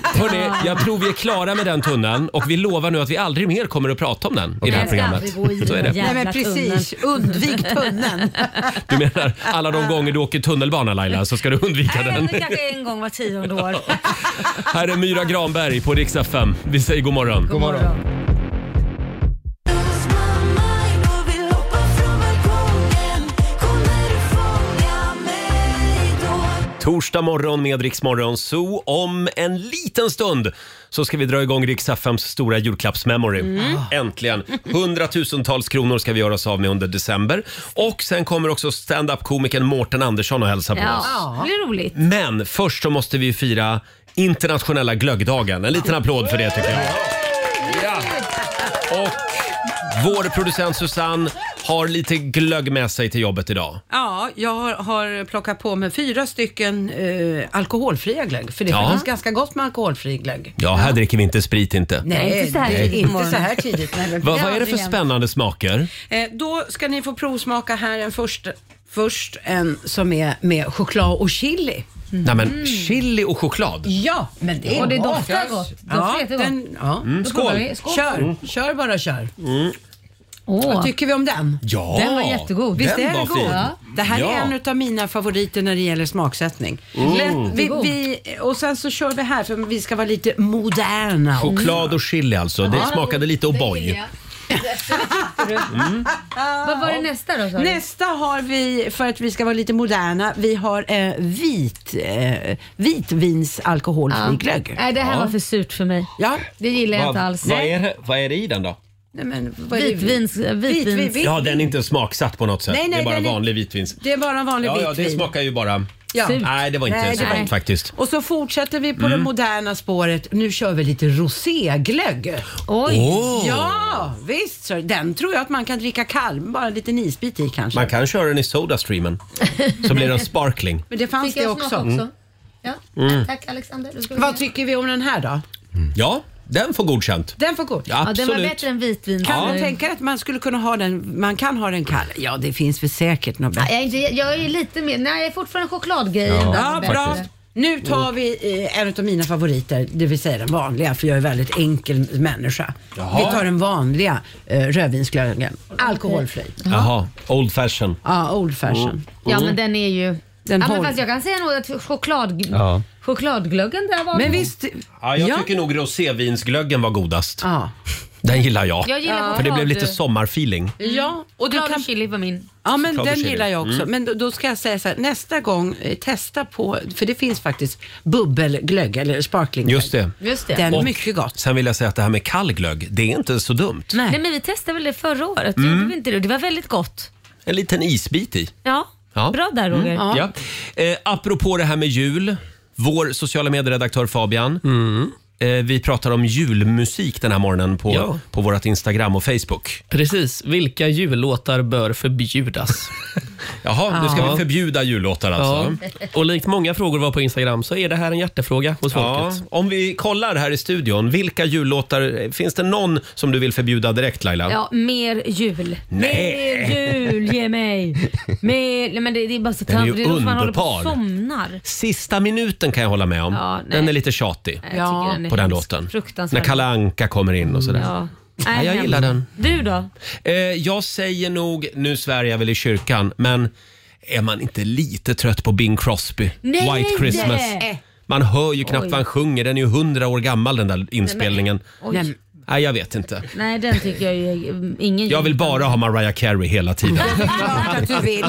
[SPEAKER 1] Hörrni, jag tror vi är klara med den tunneln och vi lovar nu att vi aldrig mer kommer att prata om den i det här
[SPEAKER 2] Jag ska
[SPEAKER 1] programmet.
[SPEAKER 2] aldrig gå i
[SPEAKER 1] Så är
[SPEAKER 2] den
[SPEAKER 1] det.
[SPEAKER 6] Nej,
[SPEAKER 2] jävla
[SPEAKER 6] men precis. Undvik tunneln.
[SPEAKER 1] Du menar alla de gånger du åker tunnelbana Laila så ska du undvika
[SPEAKER 2] tunneln.
[SPEAKER 1] den.
[SPEAKER 2] Nej, kanske en gång var tionde år.
[SPEAKER 1] Här är Myra Granberg på Rix FM. Vi säger god morgon.
[SPEAKER 2] God morgon.
[SPEAKER 1] Torsdag morgon med Rix Morgon Zoo. Om en liten stund så ska vi dra igång Rix FMs stora julklappsmemory.
[SPEAKER 2] Mm.
[SPEAKER 1] Ah. Äntligen! Hundratusentals kronor ska vi göra oss av med under december. Och sen kommer också stand-up-komikern Mårten Andersson och hälsa på oss.
[SPEAKER 2] Ja, det blir roligt.
[SPEAKER 1] Men först så måste vi fira internationella glöggdagen. En liten applåd för det tycker jag. Ja. Och vår producent Susanne har lite glögg med sig till jobbet idag.
[SPEAKER 6] Ja, jag har, har plockat på mig fyra stycken eh, alkoholfria glögg. För det är
[SPEAKER 1] Ja.
[SPEAKER 6] faktiskt ganska gott med alkoholfri glögg.
[SPEAKER 1] Ja, här dricker vi inte sprit inte.
[SPEAKER 2] Nej, inte så här tidigt på
[SPEAKER 6] inte så
[SPEAKER 2] morgonen.
[SPEAKER 6] här tidigt. Nej, men
[SPEAKER 1] Va, vad är det för
[SPEAKER 6] aldrig än.
[SPEAKER 1] spännande smaker?
[SPEAKER 6] Eh, då ska ni få provsmaka här en först, först en som är med choklad och chili.
[SPEAKER 1] Nej men chili och choklad.
[SPEAKER 6] Ja, men det är
[SPEAKER 2] Mm. Och det
[SPEAKER 6] gott.
[SPEAKER 2] doftar gott. Doftar
[SPEAKER 6] Ja,
[SPEAKER 2] jättegott.
[SPEAKER 6] den, ja.
[SPEAKER 2] Då
[SPEAKER 1] Mm, skål.
[SPEAKER 2] provar vi. Skål. Mm.
[SPEAKER 6] Kör, kör bara kör.
[SPEAKER 2] Åh,
[SPEAKER 6] Vad tycker vi om den?
[SPEAKER 1] Mm. Ja!
[SPEAKER 2] Den var jättegod.
[SPEAKER 6] Visst
[SPEAKER 1] den
[SPEAKER 6] är den
[SPEAKER 1] var
[SPEAKER 6] god?
[SPEAKER 1] fin.
[SPEAKER 2] Ja.
[SPEAKER 6] Det här
[SPEAKER 1] Ja. Mm.
[SPEAKER 6] är en av mina favoriter när det gäller smaksättning. Lätt, vi, vi, och sen så kör vi här för vi ska vara lite moderna. Och,
[SPEAKER 1] Choklad och chili alltså. Det smakade lite O'boy.
[SPEAKER 2] Mm. vad var det nästa då? sa du?
[SPEAKER 6] nästa har vi, för att vi ska vara lite moderna, vi har eh, vit, eh, vitvinsalkoholfri glögg.
[SPEAKER 2] Nej, det här var för surt för mig.
[SPEAKER 6] Ja.
[SPEAKER 2] Det gillar jag inte alls.
[SPEAKER 1] är, det- vad är det i den då?
[SPEAKER 6] Nej, men, vad är det?
[SPEAKER 2] Vitvins...
[SPEAKER 6] Vit, vit,
[SPEAKER 2] Vitvins...
[SPEAKER 6] vit.
[SPEAKER 1] Ja, den är inte smaksatt på något sätt.
[SPEAKER 6] Nej, nej,
[SPEAKER 1] det är bara
[SPEAKER 6] den är-
[SPEAKER 1] vanlig vitvins.
[SPEAKER 6] Det är bara en vanlig
[SPEAKER 1] Ja, ja, det
[SPEAKER 6] vitvin.
[SPEAKER 1] smakar ju bara...
[SPEAKER 6] Ja.
[SPEAKER 1] Nej, det var inte
[SPEAKER 6] Nej, det
[SPEAKER 1] så
[SPEAKER 6] var
[SPEAKER 1] gott
[SPEAKER 6] inte.
[SPEAKER 1] faktiskt.
[SPEAKER 6] Och så fortsätter vi på
[SPEAKER 1] Mm.
[SPEAKER 6] det moderna spåret. Nu kör vi lite roséglögg.
[SPEAKER 2] Oj!
[SPEAKER 1] Åh!
[SPEAKER 6] Ja, visst. Så den tror jag att man kan dricka kall, bara en liten isbit i kanske.
[SPEAKER 1] Man kan köra den i Sodastreamen. Så blir den sparkling.
[SPEAKER 6] Men det fanns
[SPEAKER 8] Fick
[SPEAKER 6] det
[SPEAKER 8] jag
[SPEAKER 6] också. Mm.
[SPEAKER 8] smaka också? Ja. Tack Alexander. Du ska
[SPEAKER 6] Vad tycker vi om den här då?
[SPEAKER 1] Ja, den får godkänt.
[SPEAKER 6] Den får gå.
[SPEAKER 2] Ja,
[SPEAKER 1] Absolut.
[SPEAKER 2] den var bättre än vitvin.
[SPEAKER 6] Kan man tänka att man skulle kunna ha den, man kan ha den kall? Ja, det finns väl säkert något
[SPEAKER 8] Ja,
[SPEAKER 6] bättre.
[SPEAKER 8] Jag är, inte, jag är lite mer, nej jag är fortfarande chokladgrejen. där
[SPEAKER 6] Ja,
[SPEAKER 8] bättre.
[SPEAKER 6] bra. Nu tar vi eh, en av mina favoriter, det vill säga den vanliga, för jag är väldigt enkel människa. Vi tar den vanliga eh, rödvinsglöggen, alkoholfri.
[SPEAKER 1] Jaha, old fashion.
[SPEAKER 6] Ja, old fashion.
[SPEAKER 2] Mm. Ja,
[SPEAKER 1] Mm.
[SPEAKER 2] men den är ju...
[SPEAKER 6] Den
[SPEAKER 2] ja, men
[SPEAKER 6] håller.
[SPEAKER 2] fast jag kan säga nog att choklad...
[SPEAKER 5] Ja.
[SPEAKER 2] chokladglöggen där var
[SPEAKER 6] Men
[SPEAKER 2] god.
[SPEAKER 6] visst,
[SPEAKER 1] Mm. Ja, jag tycker nog rosévinsglöggen var godast.
[SPEAKER 6] ja.
[SPEAKER 1] Den gillar jag.
[SPEAKER 2] Jag gillar choklad.
[SPEAKER 1] För det blev lite sommarfeeling.
[SPEAKER 6] Ja, och du
[SPEAKER 2] Choklad Mm. och
[SPEAKER 6] kan,
[SPEAKER 2] chili var min.
[SPEAKER 6] ja men
[SPEAKER 1] Choklad och
[SPEAKER 6] den
[SPEAKER 1] chili.
[SPEAKER 6] gillar jag också. Men då, då ska jag säga så här, nästa gång eh, testa på, för det finns faktiskt bubbelglögg eller sparkling.
[SPEAKER 1] Just det.
[SPEAKER 2] Just det.
[SPEAKER 6] Den är
[SPEAKER 1] Och-
[SPEAKER 6] mycket gott.
[SPEAKER 1] Sen vill jag säga att det här med kall glögg, det är inte så dumt.
[SPEAKER 2] Nej men vi testade väl det förra året? Gjorde vi inte det? Det var väldigt gott.
[SPEAKER 1] En liten isbit i.
[SPEAKER 2] Ja,
[SPEAKER 1] Ja. Mm,
[SPEAKER 2] bra där Roger.
[SPEAKER 1] Ja. Eh, apropå det här med jul. Vår sociala medieredaktör Fabian.
[SPEAKER 6] Mm.
[SPEAKER 1] Eh, vi pratar om julmusik den här morgonen på,
[SPEAKER 9] Ja.
[SPEAKER 1] på vårt Instagram och Facebook.
[SPEAKER 9] Precis. Vilka jullåtar bör förbjudas?
[SPEAKER 1] Jaha, nu ska
[SPEAKER 6] Ja.
[SPEAKER 1] vi förbjuda jullåtar alltså.
[SPEAKER 9] Och likt många frågor var på Instagram så är det här en hjärtefråga hos
[SPEAKER 1] Ja,
[SPEAKER 9] folket.
[SPEAKER 1] om vi kollar här i studion, vilka jullåtar, finns det någon som du vill förbjuda direkt Laila?
[SPEAKER 2] Ja, mer jul.
[SPEAKER 1] Nej.
[SPEAKER 2] Mer jul, ge mig. Mer, nej, men det, det är bara så
[SPEAKER 1] Den är ju
[SPEAKER 2] det som man håller på
[SPEAKER 1] underbar.
[SPEAKER 2] och somnar.
[SPEAKER 1] Sista minuten kan jag hålla med om.
[SPEAKER 2] Ja, nej.
[SPEAKER 1] den är lite tjatig
[SPEAKER 2] Nej, jag
[SPEAKER 6] Ja.
[SPEAKER 2] tycker är
[SPEAKER 1] på den
[SPEAKER 2] hemsk.
[SPEAKER 1] låten.
[SPEAKER 2] Fruktansvärd.
[SPEAKER 1] När Kalle Anka kommer in och sådär.
[SPEAKER 2] Ja.
[SPEAKER 1] Nej, jag
[SPEAKER 2] hemskt.
[SPEAKER 1] gillar den.
[SPEAKER 2] Du då?
[SPEAKER 1] Eh, jag säger nog, nu svär jag väl i kyrkan, men är man inte lite trött på Bing Crosby?
[SPEAKER 2] Nej!
[SPEAKER 1] White Christmas.
[SPEAKER 2] Eh.
[SPEAKER 1] Man hör ju knappt
[SPEAKER 2] Oj.
[SPEAKER 1] vad han sjunger, den är ju hundra år gammal den där inspelningen.
[SPEAKER 2] Oj.
[SPEAKER 6] Nej,
[SPEAKER 1] Nej, jag vet inte.
[SPEAKER 2] Nej, den tycker jag ju är- eh, ingen
[SPEAKER 1] Jag vill
[SPEAKER 2] jul.
[SPEAKER 1] bara ha Mariah Carey hela tiden.
[SPEAKER 6] klart att du vill.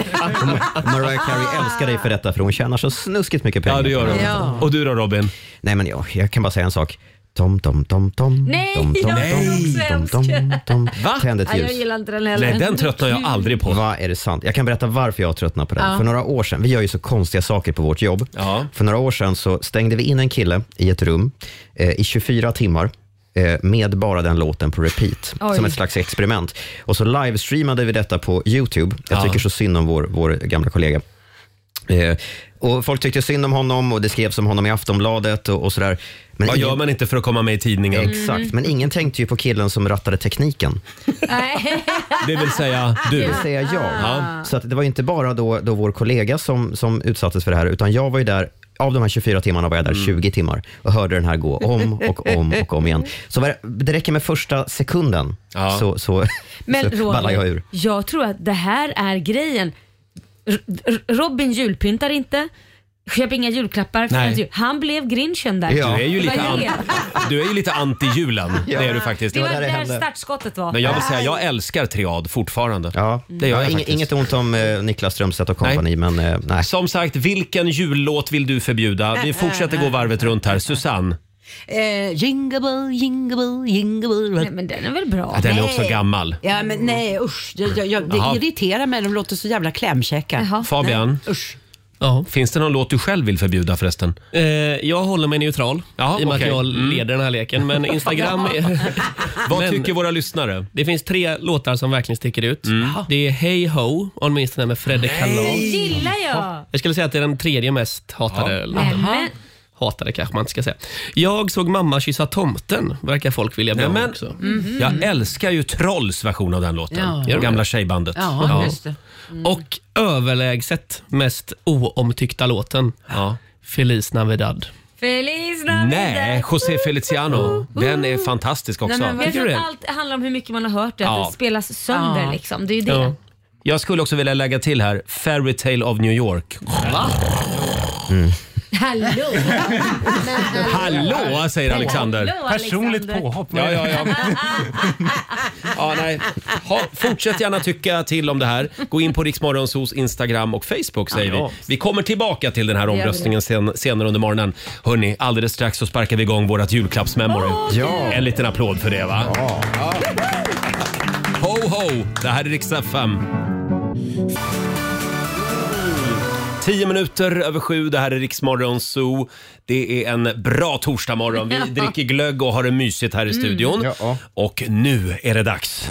[SPEAKER 5] Mariah
[SPEAKER 2] Ah.
[SPEAKER 5] Carey älskar dig för detta för hon tjänar så snuskigt mycket pengar.
[SPEAKER 1] Ja, det gör hon.
[SPEAKER 6] Ja.
[SPEAKER 1] Och du då Robin?
[SPEAKER 5] Nej, men jag, jag kan bara säga en sak. Tom, tom, tom, tom.
[SPEAKER 2] Nej,
[SPEAKER 5] tom,
[SPEAKER 2] jag är också
[SPEAKER 5] tom, tom, tom, tom.
[SPEAKER 1] Va?
[SPEAKER 5] Tänd ett
[SPEAKER 2] Nej, jag
[SPEAKER 5] ljus.
[SPEAKER 2] gillar inte den heller.
[SPEAKER 1] Nej, den tröttnar jag aldrig på.
[SPEAKER 5] Va, är det sant? Jag kan berätta varför jag tröttnade på den. För några år sedan, vi gör ju så konstiga saker på vårt jobb.
[SPEAKER 1] Ja.
[SPEAKER 5] För några år sedan så stängde vi in en kille i ett rum eh, i 24 timmar eh, med bara den låten på repeat,
[SPEAKER 2] Oj.
[SPEAKER 5] som ett slags experiment. Och så livestreamade vi detta på YouTube. Jag
[SPEAKER 1] Ja.
[SPEAKER 5] tycker så synd om vår, vår gamla kollega. Eh, och Folk tyckte synd om honom och det skrevs om honom i Aftonbladet och, och sådär. Men
[SPEAKER 1] Vad
[SPEAKER 5] ingen-
[SPEAKER 1] gör man inte för att komma med i tidningen?
[SPEAKER 5] Exakt, men ingen tänkte ju på killen som rattade tekniken.
[SPEAKER 2] Nej.
[SPEAKER 1] Det vill säga
[SPEAKER 5] Det
[SPEAKER 1] du.
[SPEAKER 5] vill säga jag. Så att det var inte bara då, då vår kollega som, som utsattes för det här, utan jag var ju där av de här 24 timmarna var jag där
[SPEAKER 9] Mm.
[SPEAKER 5] 20 timmar och hörde den här gå om och om och om igen. Så var det, det räcker med första sekunden
[SPEAKER 1] Ja.
[SPEAKER 5] så, så,
[SPEAKER 2] Men
[SPEAKER 5] så ballar jag
[SPEAKER 2] Roger,
[SPEAKER 5] ur.
[SPEAKER 2] jag tror att det här är grejen. R- R- Robin julpyntar inte, köper inga julklappar. för
[SPEAKER 1] Nej.
[SPEAKER 2] hans jul. Han blev grinchen där.
[SPEAKER 5] Ja.
[SPEAKER 1] Du är ju lite,
[SPEAKER 2] Vad
[SPEAKER 1] an-
[SPEAKER 2] är
[SPEAKER 1] du är ju lite anti-julen. Det är du faktiskt.
[SPEAKER 2] Det var
[SPEAKER 5] där det
[SPEAKER 2] där
[SPEAKER 5] hände.
[SPEAKER 2] startskottet var.
[SPEAKER 1] Men jag vill säga, jag älskar triad fortfarande.
[SPEAKER 5] Ja.
[SPEAKER 1] Det gör jag
[SPEAKER 5] ja, ing-
[SPEAKER 1] faktiskt.
[SPEAKER 5] inget ont om eh, Niklas Strömstedt och kompani, men eh, nej.
[SPEAKER 1] Som sagt, vilken jullåt vill du förbjuda? Vi fortsätter gå varvet runt här. Susanne,
[SPEAKER 6] Eh, jingle bell, jingle bell, jingle bell.
[SPEAKER 2] Nej, men den är väl bra?
[SPEAKER 1] den är också gammal.
[SPEAKER 6] Ja men nej usch, jag, jag, jag, det
[SPEAKER 1] Jaha.
[SPEAKER 6] irriterar mig. De låter så jävla klämkäcka.
[SPEAKER 2] Jaha.
[SPEAKER 1] Fabian,
[SPEAKER 6] Usch.
[SPEAKER 9] Ja.
[SPEAKER 1] finns det någon låt du själv vill förbjuda förresten?
[SPEAKER 9] Eh, jag håller mig neutral
[SPEAKER 1] Ja,
[SPEAKER 9] i och med
[SPEAKER 1] okej.
[SPEAKER 9] att jag
[SPEAKER 1] Mm.
[SPEAKER 9] leder den här leken. Men Instagram...
[SPEAKER 1] Vad
[SPEAKER 9] Men-
[SPEAKER 1] tycker våra lyssnare? Mm.
[SPEAKER 9] Det finns tre låtar som verkligen sticker ut. Det är Hey Ho, åtminstone med Fredde
[SPEAKER 2] Den
[SPEAKER 9] Kalas.
[SPEAKER 2] gillar jag.
[SPEAKER 9] Jag skulle säga att det är den tredje mest hatade låten.
[SPEAKER 2] Nej, men,
[SPEAKER 9] Hatade kanske man inte ska säga. Jag såg mamma kyssa tomten, verkar folk vilja bli
[SPEAKER 1] Nej,
[SPEAKER 9] av med
[SPEAKER 1] men,
[SPEAKER 9] också.
[SPEAKER 1] Jag älskar ju Trolls version av den låten.
[SPEAKER 9] Ja.
[SPEAKER 1] Gamla tjejbandet.
[SPEAKER 6] Ja, just det.
[SPEAKER 9] Och överlägset mest oomtyckta låten,
[SPEAKER 1] Ja.
[SPEAKER 9] Feliz Navidad.
[SPEAKER 2] Feliz Navidad.
[SPEAKER 1] Nej, José Feliciano. Den är fantastisk
[SPEAKER 2] Nej,
[SPEAKER 1] också.
[SPEAKER 2] men jag tror
[SPEAKER 9] du
[SPEAKER 2] att
[SPEAKER 9] det?
[SPEAKER 2] allt handlar om hur mycket man har hört det, att
[SPEAKER 1] Ja.
[SPEAKER 2] det spelas sönder
[SPEAKER 6] Ja.
[SPEAKER 2] liksom. Det är ju det.
[SPEAKER 9] Ja.
[SPEAKER 1] Jag skulle också vilja lägga till här, Fairy Tale of New York.
[SPEAKER 2] Hallå!
[SPEAKER 1] Hallå, säger Alexander.
[SPEAKER 2] Hallå,
[SPEAKER 7] Personligt
[SPEAKER 2] Alexander.
[SPEAKER 7] påhopp.
[SPEAKER 1] Ja, ja, ja. ja nej. Ha, fortsätt gärna tycka till om det här. Gå in på Riksmorgonsos Instagram och Facebook säger vi. Vi kommer tillbaka till den här
[SPEAKER 2] vi.
[SPEAKER 1] omröstningen sen, senare under morgonen. Hörni, alldeles strax så sparkar vi igång vårt julklappsmemory.
[SPEAKER 5] Ja.
[SPEAKER 1] En liten applåd för det va? Ja. Ho ho! Det här är riksdag 5. Tio minuter över sju, det här är Riksmorgon Zoo. Det är en bra torsdagmorgon. Vi dricker glögg och har det mysigt här i studion.
[SPEAKER 5] Mm. Ja.
[SPEAKER 1] Och nu är det dags.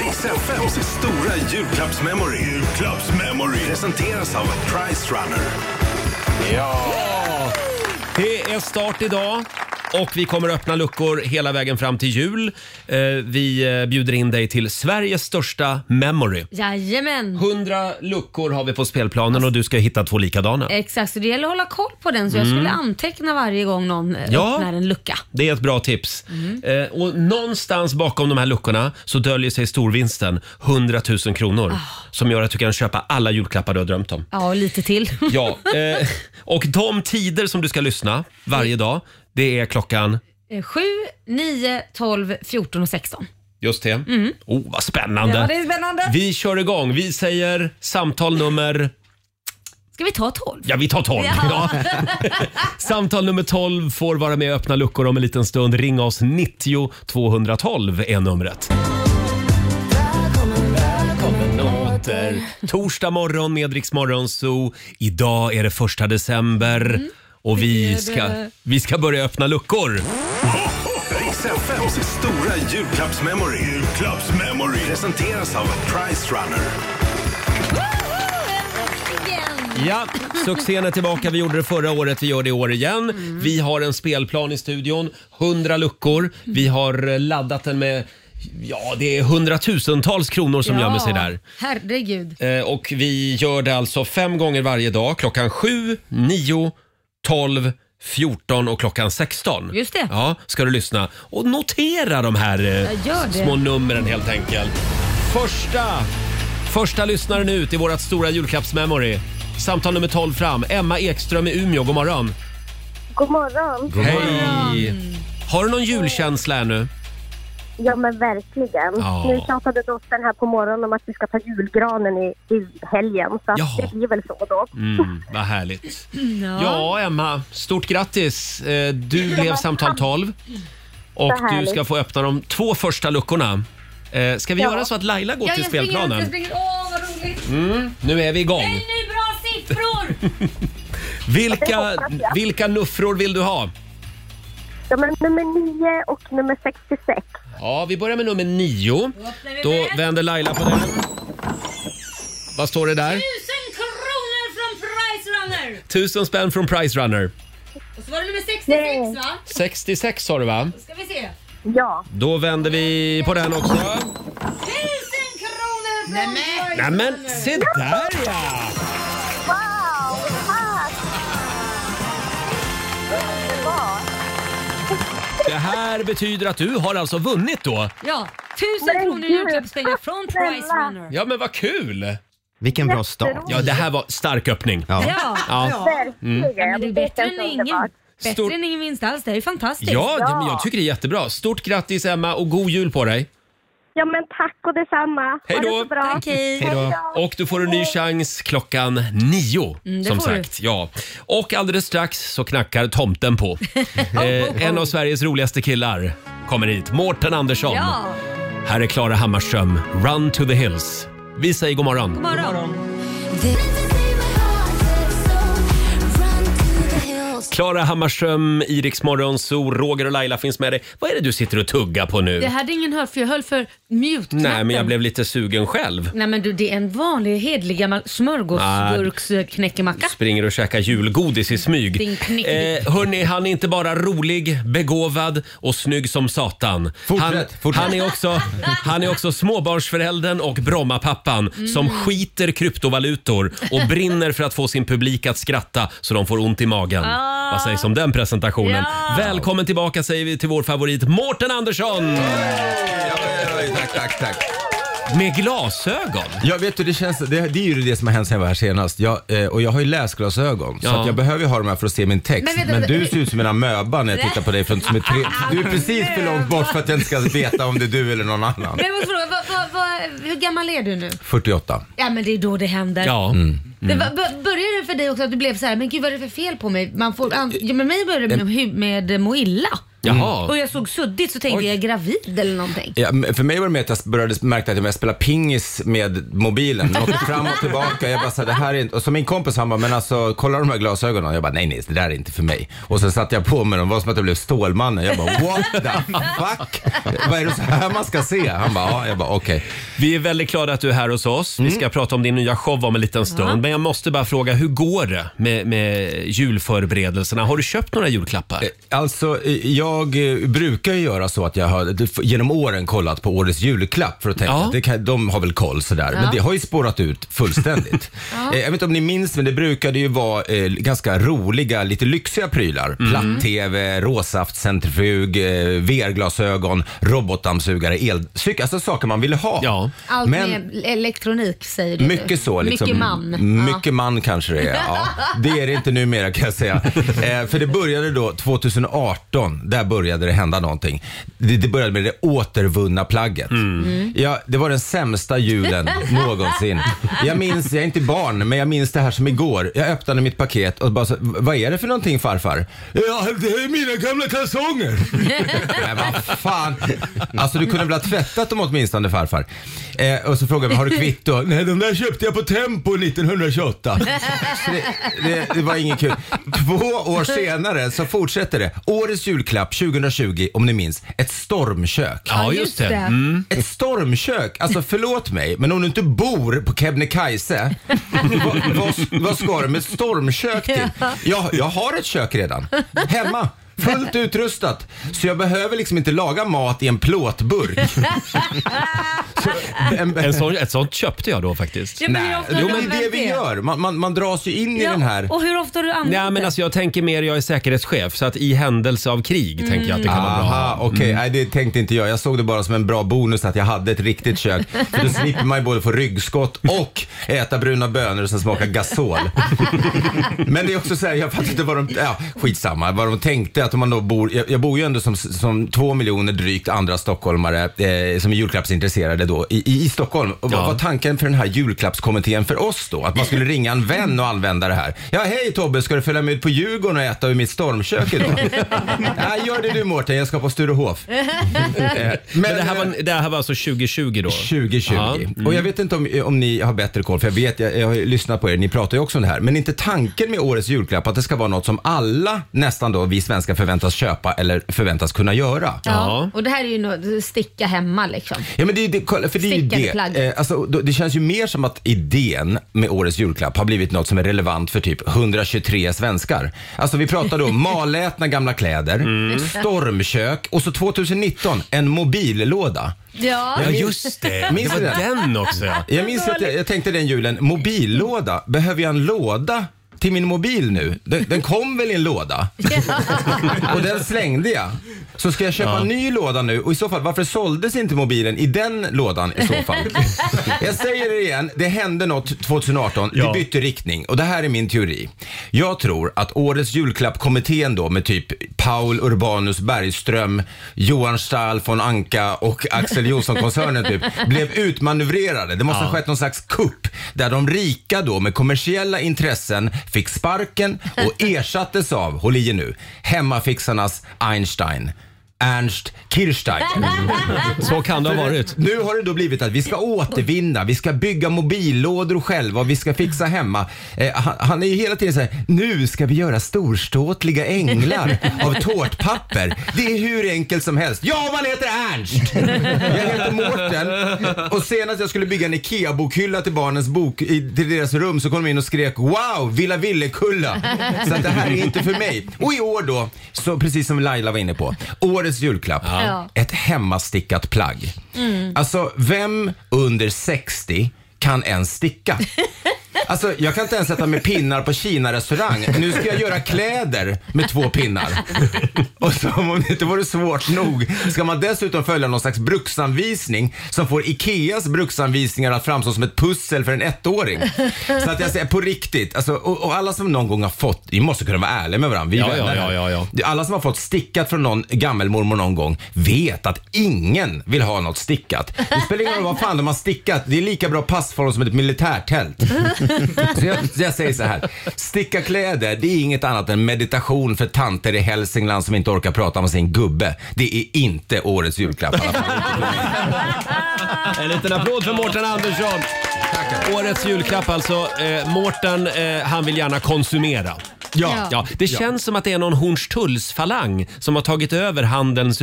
[SPEAKER 3] Riks FMs stora julklappsmemory. Julklappsmemory. Presenteras av Price Runner.
[SPEAKER 1] Det är start idag. Och vi kommer öppna luckor hela vägen fram till jul. Eh, vi eh, bjuder in dig till Sveriges största memory.
[SPEAKER 2] Jajamän.
[SPEAKER 1] 100 luckor har vi på spelplanen och du ska hitta två likadana.
[SPEAKER 2] Exakt, så det gäller att hålla koll på den. Så jag skulle anteckna varje gång någon eh,
[SPEAKER 1] Mm. Ja.
[SPEAKER 2] öppnar en lucka.
[SPEAKER 1] Det är ett bra tips. Eh, och någonstans bakom de här luckorna så döljer sig storvinsten 100 000 kronor
[SPEAKER 2] Ah.
[SPEAKER 1] som gör att du kan köpa alla julklappar du har drömt om.
[SPEAKER 2] Ja, och lite till.
[SPEAKER 1] Ja, eh, och de tider som du ska lyssna varje dag, det är klockan...
[SPEAKER 2] 7, 9, 12, 14 och 16.
[SPEAKER 1] Just det. Oh, vad spännande.
[SPEAKER 2] Mm. Ja, det är spännande.
[SPEAKER 1] Vi kör igång. Vi säger samtal nummer...
[SPEAKER 2] Ska vi ta 12?
[SPEAKER 1] Ja, vi tar 12. Ja.
[SPEAKER 2] Ja.
[SPEAKER 1] Samtal nummer 12 får vara med och öppna luckor om en liten stund. Ring oss 90 212 är numret. Åter. Torsdag morgon med Rix Morgon Zoo. Idag är det första december och vi ska, vi ska börja öppna luckor.
[SPEAKER 3] Riks FMs stora julklappsmemory. Julklappsmemory. Presenteras av Price Runner.
[SPEAKER 8] igen!
[SPEAKER 1] Ja, succén är tillbaka. Vi gjorde det förra året, vi gör det i år igen. Vi har en spelplan i studion, 100 luckor. Vi har laddat den med, ja det är hundratusentals kronor som gömmer sig där.
[SPEAKER 2] Herregud.
[SPEAKER 1] Eh, Och vi gör det alltså fem gånger varje dag. Klockan 7, 9, 12, 14 och klockan 16.
[SPEAKER 2] Just det.
[SPEAKER 1] Ja, ska du lyssna. Och notera de här eh,
[SPEAKER 2] Jag gör det.
[SPEAKER 1] små numren helt enkelt. Första, första lyssnaren ut i vårt stora julklappsmemory. Samtal nummer 12 fram. Emma Ekström i Umeå, god morgon.
[SPEAKER 4] God morgon.
[SPEAKER 1] Hej! Har du någon julkänsla ännu?
[SPEAKER 4] Ja, men verkligen.
[SPEAKER 1] Ja.
[SPEAKER 4] Nu tjatade dottern här på morgonen om att vi ska ta julgranen i, i helgen, så att
[SPEAKER 1] Jaha.
[SPEAKER 4] det blir väl så då.
[SPEAKER 1] Mm, vad härligt. Ja. Emma. Stort grattis. Eh, Du blev samtal 12. Och
[SPEAKER 4] Vad
[SPEAKER 1] du
[SPEAKER 4] härligt.
[SPEAKER 1] ska få öppna de två första luckorna. Eh, Ska vi göra så att Laila går till spelplanen? Mm,
[SPEAKER 8] springer. Åh, vad roligt!
[SPEAKER 1] Nu är vi igång.
[SPEAKER 8] Nu bra siffror!
[SPEAKER 1] Vilka,
[SPEAKER 4] hoppas jag.
[SPEAKER 1] vilka nuffror vill du ha?
[SPEAKER 4] Ja, men nummer 9 och nummer 66.
[SPEAKER 1] Ja, vi börjar med nummer nio. Då vänder Laila på den. Vad står det där?
[SPEAKER 8] Tusen kronor från Price Runner!
[SPEAKER 1] Tusen spänn från Price Runner.
[SPEAKER 8] Och så var det nummer 66
[SPEAKER 4] Nej.
[SPEAKER 8] va?
[SPEAKER 1] 66 har du va?
[SPEAKER 8] Ska vi se.
[SPEAKER 4] Ja,
[SPEAKER 1] Då vänder vi på den också.
[SPEAKER 8] Tusen kronor från Price
[SPEAKER 1] Nej men se där ja!
[SPEAKER 4] wow! Tack! Underbart!
[SPEAKER 1] Det här betyder att du har alltså vunnit då.
[SPEAKER 2] Ja, tusen
[SPEAKER 4] Men
[SPEAKER 2] kronor i
[SPEAKER 4] gud,
[SPEAKER 2] julklappspengar från
[SPEAKER 4] snälla.
[SPEAKER 2] Price Runner.
[SPEAKER 1] Ja men vad kul!
[SPEAKER 5] Vilken bra start.
[SPEAKER 1] Ja det här var stark öppning.
[SPEAKER 5] Ja.
[SPEAKER 2] Ja.
[SPEAKER 1] Ja, Mm.
[SPEAKER 4] Verkligen.
[SPEAKER 2] Men det är bättre
[SPEAKER 4] känns
[SPEAKER 2] än ingen.
[SPEAKER 4] underbart.
[SPEAKER 2] Bättre
[SPEAKER 1] Stort-
[SPEAKER 2] än ingen vinst alls. Det är ju fantastiskt.
[SPEAKER 1] ja det, men jag tycker det är jättebra. Stort grattis Emma och god jul på dig.
[SPEAKER 4] Ja, men tack och detsamma.
[SPEAKER 1] Hej då.
[SPEAKER 4] Ha det så bra.
[SPEAKER 2] Tack, hej.
[SPEAKER 1] Och du får en ny chans klockan nio.
[SPEAKER 2] Mm, det
[SPEAKER 1] som
[SPEAKER 2] får du.
[SPEAKER 1] sagt. Ja. Och alldeles strax så knackar tomten på.
[SPEAKER 2] Oh,
[SPEAKER 1] eh, en av Sveriges roligaste killar kommer hit. Mårten Andersson.
[SPEAKER 2] Ja,
[SPEAKER 1] Här är Klara Hammarström, Run to the hills. Vi säger god morgon.
[SPEAKER 2] god morgon.
[SPEAKER 1] Klara Hammarström, Iriks morgonzoo, Roger och Laila finns med dig. Vad är det du sitter och tuggar på nu?
[SPEAKER 8] Det hade ingen hört för jag höll för mute-knappen.
[SPEAKER 1] Nej, men jag blev lite sugen själv.
[SPEAKER 2] Nej men du, det är en vanlig hedlig gammal smörgåsburksknäckemacka.
[SPEAKER 1] Springer och käkar julgodis i smyg.
[SPEAKER 2] Din knick.
[SPEAKER 1] Eh, hörni, han är inte bara rolig, begåvad och snygg som satan. Han,
[SPEAKER 5] Fortsätt, fortsätt.
[SPEAKER 1] han, är också, han är också småbarnsföräldern och Brommapappan som skiter kryptovalutor och brinner för att få sin publik att skratta så de får ont i magen. Vad sägs om den presentationen?
[SPEAKER 2] Ja.
[SPEAKER 1] Välkommen tillbaka säger vi till vår favorit Mårten Andersson
[SPEAKER 10] Tack, tack, tack.
[SPEAKER 1] med glasögon.
[SPEAKER 10] Jag vet du, det, känns, det, det är ju det som har hänt sen jag var här senast. Jag, eh, och jag har ju läsglasögon, så
[SPEAKER 1] Ja.
[SPEAKER 10] att jag behöver ju ha de här för att se min text.
[SPEAKER 8] Men
[SPEAKER 10] Men,
[SPEAKER 8] vänta, vänta,
[SPEAKER 10] du ser ut som en amöba när jag tittar på dig. För, som är tre, du är precis för långt bort för att jag inte ska veta om det är du eller någon annan.
[SPEAKER 8] Men jag måste fråga, vad, vad, vad, hur gammal är du nu?
[SPEAKER 10] 48.
[SPEAKER 8] Ja men det är då det händer.
[SPEAKER 1] Ja.
[SPEAKER 10] Mm.
[SPEAKER 1] Mm.
[SPEAKER 8] Det var- bör- Började det för dig också att du blev så här, men gud vad är det för fel på mig? Man får, an, ja, men mig började det med, hu- med Moilla.
[SPEAKER 1] Jaha.
[SPEAKER 8] Och jag såg suddigt så tänkte jag, jag är gravid eller någonting.
[SPEAKER 10] Ja, men för mig var det mer att jag började märka att jag spelade pingis med mobilen. Jag åkte fram och tillbaka. Jag bara så här, det här är inte... Och så min kompis han bara, men alltså kolla de här glasögonen. Jag bara, nej nej, det där är inte för mig. Och sen satte jag på mig dem. Det var som att jag blev Stålmannen. Jag bara, what the fuck? Vad är det så här man ska se? Han bara, ja. Jag bara, okej. Mm.
[SPEAKER 1] Vi är väldigt glada att du är här hos oss. Vi ska prata om din nya show om en liten stund. Men jag måste bara fråga, hur går det med, med julförberedelserna? Har du köpt några julklappar?
[SPEAKER 10] Alltså, eh, jag eh, brukar ju göra så att jag har eh, f- genom åren kollat på årets julklapp för att tänka
[SPEAKER 1] Ja.
[SPEAKER 10] att det kan, de har väl koll sådär. Men det har ju spårat ut fullständigt. Eh, Jag vet inte om ni minns, men det brukade ju vara eh, ganska roliga, lite lyxiga prylar.
[SPEAKER 1] Mm.
[SPEAKER 10] Platt-tv, råsaftcentrifug, eh, VR-glasögon, robotdammsugare, elcykel. Alltså saker man ville ha.
[SPEAKER 1] Ja.
[SPEAKER 8] Allt
[SPEAKER 10] Men-
[SPEAKER 8] med elektronik säger du.
[SPEAKER 10] mycket så. Liksom,
[SPEAKER 8] mycket man.
[SPEAKER 10] Mycket man kanske det är. Ja, det är det inte numera kan jag säga. Eh, för det började då 2018, där började det hända någonting. Det, det började med det återvunna plagget. Mm. Ja, det var den sämsta julen någonsin. Jag minns, jag är inte barn, men jag minns det här som igår. Jag öppnade mitt paket och bara så, vad är det för någonting farfar? Ja, det är mina gamla kalsonger. Nej, vad fan. Alltså du kunde väl ha tvättat dem åtminstone farfar. Eh, och så frågade jag har du kvitto? Nej, de där köpte jag på Tempo 1928. Så det, det, det var inget kul. Två år senare så fortsätter det. Årets julklapp 2020, om ni minns, ett stormkök.
[SPEAKER 1] Ja, just det. Mm.
[SPEAKER 10] Ett stormkök, alltså förlåt mig, men om du inte bor på Kebnekaise, vad, vad, vad ska du med ett stormkök till? Jag, jag har ett kök redan, hemma. Fullt utrustat, så jag behöver liksom inte laga mat i en plåtburk.
[SPEAKER 1] En sån, ett sånt köpte jag då faktiskt.
[SPEAKER 2] Ja, men hur ofta har
[SPEAKER 10] Jo
[SPEAKER 2] du
[SPEAKER 10] men
[SPEAKER 2] använt
[SPEAKER 10] det vi gör, man, man, man dras ju in i
[SPEAKER 2] Ja,
[SPEAKER 10] den här...
[SPEAKER 2] Och hur ofta har du använt
[SPEAKER 1] Nej men
[SPEAKER 2] det?
[SPEAKER 1] alltså jag tänker mer, jag är säkerhetschef, så att i händelse av krig tänker jag att det kan vara bra.
[SPEAKER 10] Mm. Aha, okej. Nej, det tänkte inte jag. Jag såg det bara som en bra bonus att jag hade ett riktigt kök. För då slipper man ju både få ryggskott och äta bruna bönor och sen smaka gasol. Men det är också så här, jag fattar inte vad de... Ja, skitsamma. Vad de tänkte att om man då bor... Jag, jag bor ju ändå som, som två miljoner drygt andra stockholmare eh, som är julklappsintresserade då i, i, i Stockholm. Och vad
[SPEAKER 1] Ja.
[SPEAKER 10] var tanken för den här julklappskommittén för oss då? Att man skulle ringa en vän och använda det här. Ja, hej Tobbe, ska du följa med ut på Djurgården och äta ur mitt stormkök idag? Nej, gör det du Mårten, jag ska på Sturehof. Eh, Men,
[SPEAKER 1] Men det här, var, det här var alltså 2020 då?
[SPEAKER 10] 2020.
[SPEAKER 1] Ja, mm.
[SPEAKER 10] Och jag vet inte om, om ni har bättre koll, för jag vet, jag, jag har ju lyssnat på er, ni pratar ju också om det här. Men inte tanken med årets julklapp att det ska vara något som alla, nästan då, vi svenskar förväntas köpa eller förväntas kunna göra.
[SPEAKER 1] Ja.
[SPEAKER 8] Ja. Och det här är ju något, sticka hemma liksom.
[SPEAKER 10] Ja, men det, är ju det, kolla, för det, är ju
[SPEAKER 8] Stickade
[SPEAKER 10] det.
[SPEAKER 8] plagg.
[SPEAKER 10] Eh, alltså, då- det känns ju mer som att idén med årets julklapp har blivit något som är relevant för typ 123 svenskar. Alltså vi pratar då om malätna gamla kläder,
[SPEAKER 8] Mm.
[SPEAKER 10] stormkök och så 2019 en mobillåda.
[SPEAKER 8] Ja.
[SPEAKER 1] ja just det,
[SPEAKER 10] Minns
[SPEAKER 1] det
[SPEAKER 10] du
[SPEAKER 1] var
[SPEAKER 10] den?
[SPEAKER 1] den också ja.
[SPEAKER 10] Jag minns att jag, jag tänkte den julen, mobillåda, behöver jag en låda? till min mobil nu. Den, den kom väl i en låda? Och den slängde jag. Så ska jag köpa en ny låda nu och i så fall varför såldes inte mobilen i den lådan i så fall? jag säger det igen, det hände något 2018.
[SPEAKER 1] Ja.
[SPEAKER 10] Vi bytte riktning och det här är min teori. Jag tror att årets julklappkommittén då med typ Paul Urbanus Bergström, Johan Stahl von Anka och Axel Johnson-koncernen typ blev utmanövrerade. Det måste ha skett någon slags kupp där de rika då med kommersiella intressen fick sparken och ersattes av, håll i er nu, hemmafixarnas Einstein. Ernst Kirchsteiger.
[SPEAKER 1] Så kan det ha varit.
[SPEAKER 10] Nu har det då blivit att vi ska återvinna, vi ska bygga mobillådor själva och vi ska fixa hemma. Eh, han, han är ju hela tiden så här, nu ska vi göra storståtliga änglar av tårtpapper. Det är hur enkelt som helst. Ja, man heter Ernst! Jag heter Mårten och senast jag skulle bygga en IKEA-bokhylla till barnens bok, i, till deras rum så kom de in och skrek wow, Villa Villekulla. Så att det här är inte för mig. Och i år då, så precis som Laila var inne på, årets julklapp.
[SPEAKER 8] Ja.
[SPEAKER 10] Ett hemmastickat plagg. Alltså, vem under 60 kan ens sticka? Alltså, jag kan inte ens sätta med pinnar på Kina-restaurang. Nu ska jag göra kläder med två pinnar. Och som om det inte vore svårt nog ska man dessutom följa någon slags bruksanvisning som får Ikeas bruksanvisningar att framstå som ett pussel för en ettåring. Så att jag säger på riktigt, alltså, och, och alla som någon gång har fått, vi måste kunna vara ärliga med varandra, vi är
[SPEAKER 1] Ja, ja,
[SPEAKER 10] vänner här.
[SPEAKER 1] ja, ja,
[SPEAKER 10] Alla som har fått stickat från någon gammelmormor någon gång vet att ingen vill ha något stickat. Det spelar ingen roll vad fan de har stickat, det är lika bra passform som ett militärtält. Så jag, jag säger så här. Sticka kläder, det är inget annat än meditation för tanter i Hälsingland som inte orkar prata med sin gubbe. Det är inte årets julklapp.
[SPEAKER 3] Mm.
[SPEAKER 10] i alla fall.
[SPEAKER 1] Mm. En liten applåd för Mårten Andersson. Årets julklapp alltså. Eh, Mårten, eh, han vill gärna konsumera.
[SPEAKER 10] Ja.
[SPEAKER 1] Ja, det känns som att det är någon Hornstulls-falang som har tagit över Handelns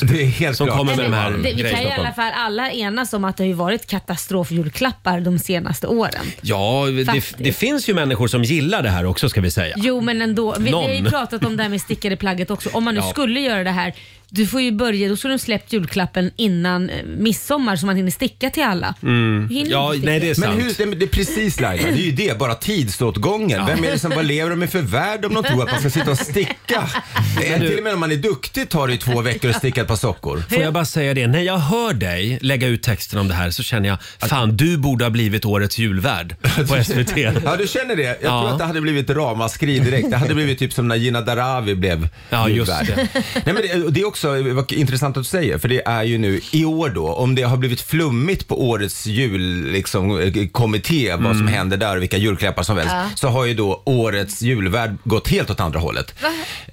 [SPEAKER 10] Det är helt
[SPEAKER 1] som
[SPEAKER 10] klart.
[SPEAKER 1] kommer med de här
[SPEAKER 8] eh, det, vi kan ju i alla
[SPEAKER 1] grejerna.
[SPEAKER 8] fall alla enas om att det har ju varit katastrofjulklappar de senaste åren.
[SPEAKER 1] Ja, det,
[SPEAKER 8] Faktiskt.
[SPEAKER 1] det finns ju människor som gillar det här också ska vi säga.
[SPEAKER 8] Jo men ändå, vi, vi har ju
[SPEAKER 1] Någon.
[SPEAKER 8] pratat om det här med stickade plagget också. Om man nu
[SPEAKER 1] Ja.
[SPEAKER 8] skulle göra det här, du får ju börja, då skulle du släppt julklappen innan eh, midsommar så man hinner sticka till alla. Mm. Hinner
[SPEAKER 1] Ja,
[SPEAKER 8] inte sticka.
[SPEAKER 1] nej det är sant.
[SPEAKER 10] Men hur, det, det är precis Laila, det är ju det, bara tidsåtgången. Vem är det som, vad lever de i för värld om de tror att man ska sitta och sticka? Det är, till och med om man är duktig tar det ju två veckor att sticka ett par sockor.
[SPEAKER 1] Får jag bara säga det, när jag hör dig lägga ut texten om det här så känner jag, fan du borde ha blivit årets julvärd på SVT.
[SPEAKER 10] Ja, du känner det? Jag
[SPEAKER 1] Ja.
[SPEAKER 10] tror att det hade blivit ramaskri direkt. Det hade blivit typ som när Gina Darawi blev
[SPEAKER 1] Ja, just
[SPEAKER 10] julvärd. Nej, men det, det är också, eh, vad intressant att du säger, för det är ju nu i år då, om det har blivit flummigt på årets julkommitté, liksom, eh, kommitté, vad
[SPEAKER 3] Mm.
[SPEAKER 10] som händer där och vilka julklappar som väljs,
[SPEAKER 3] Ja.
[SPEAKER 10] så har ju då årets julvärd gått helt åt andra hållet.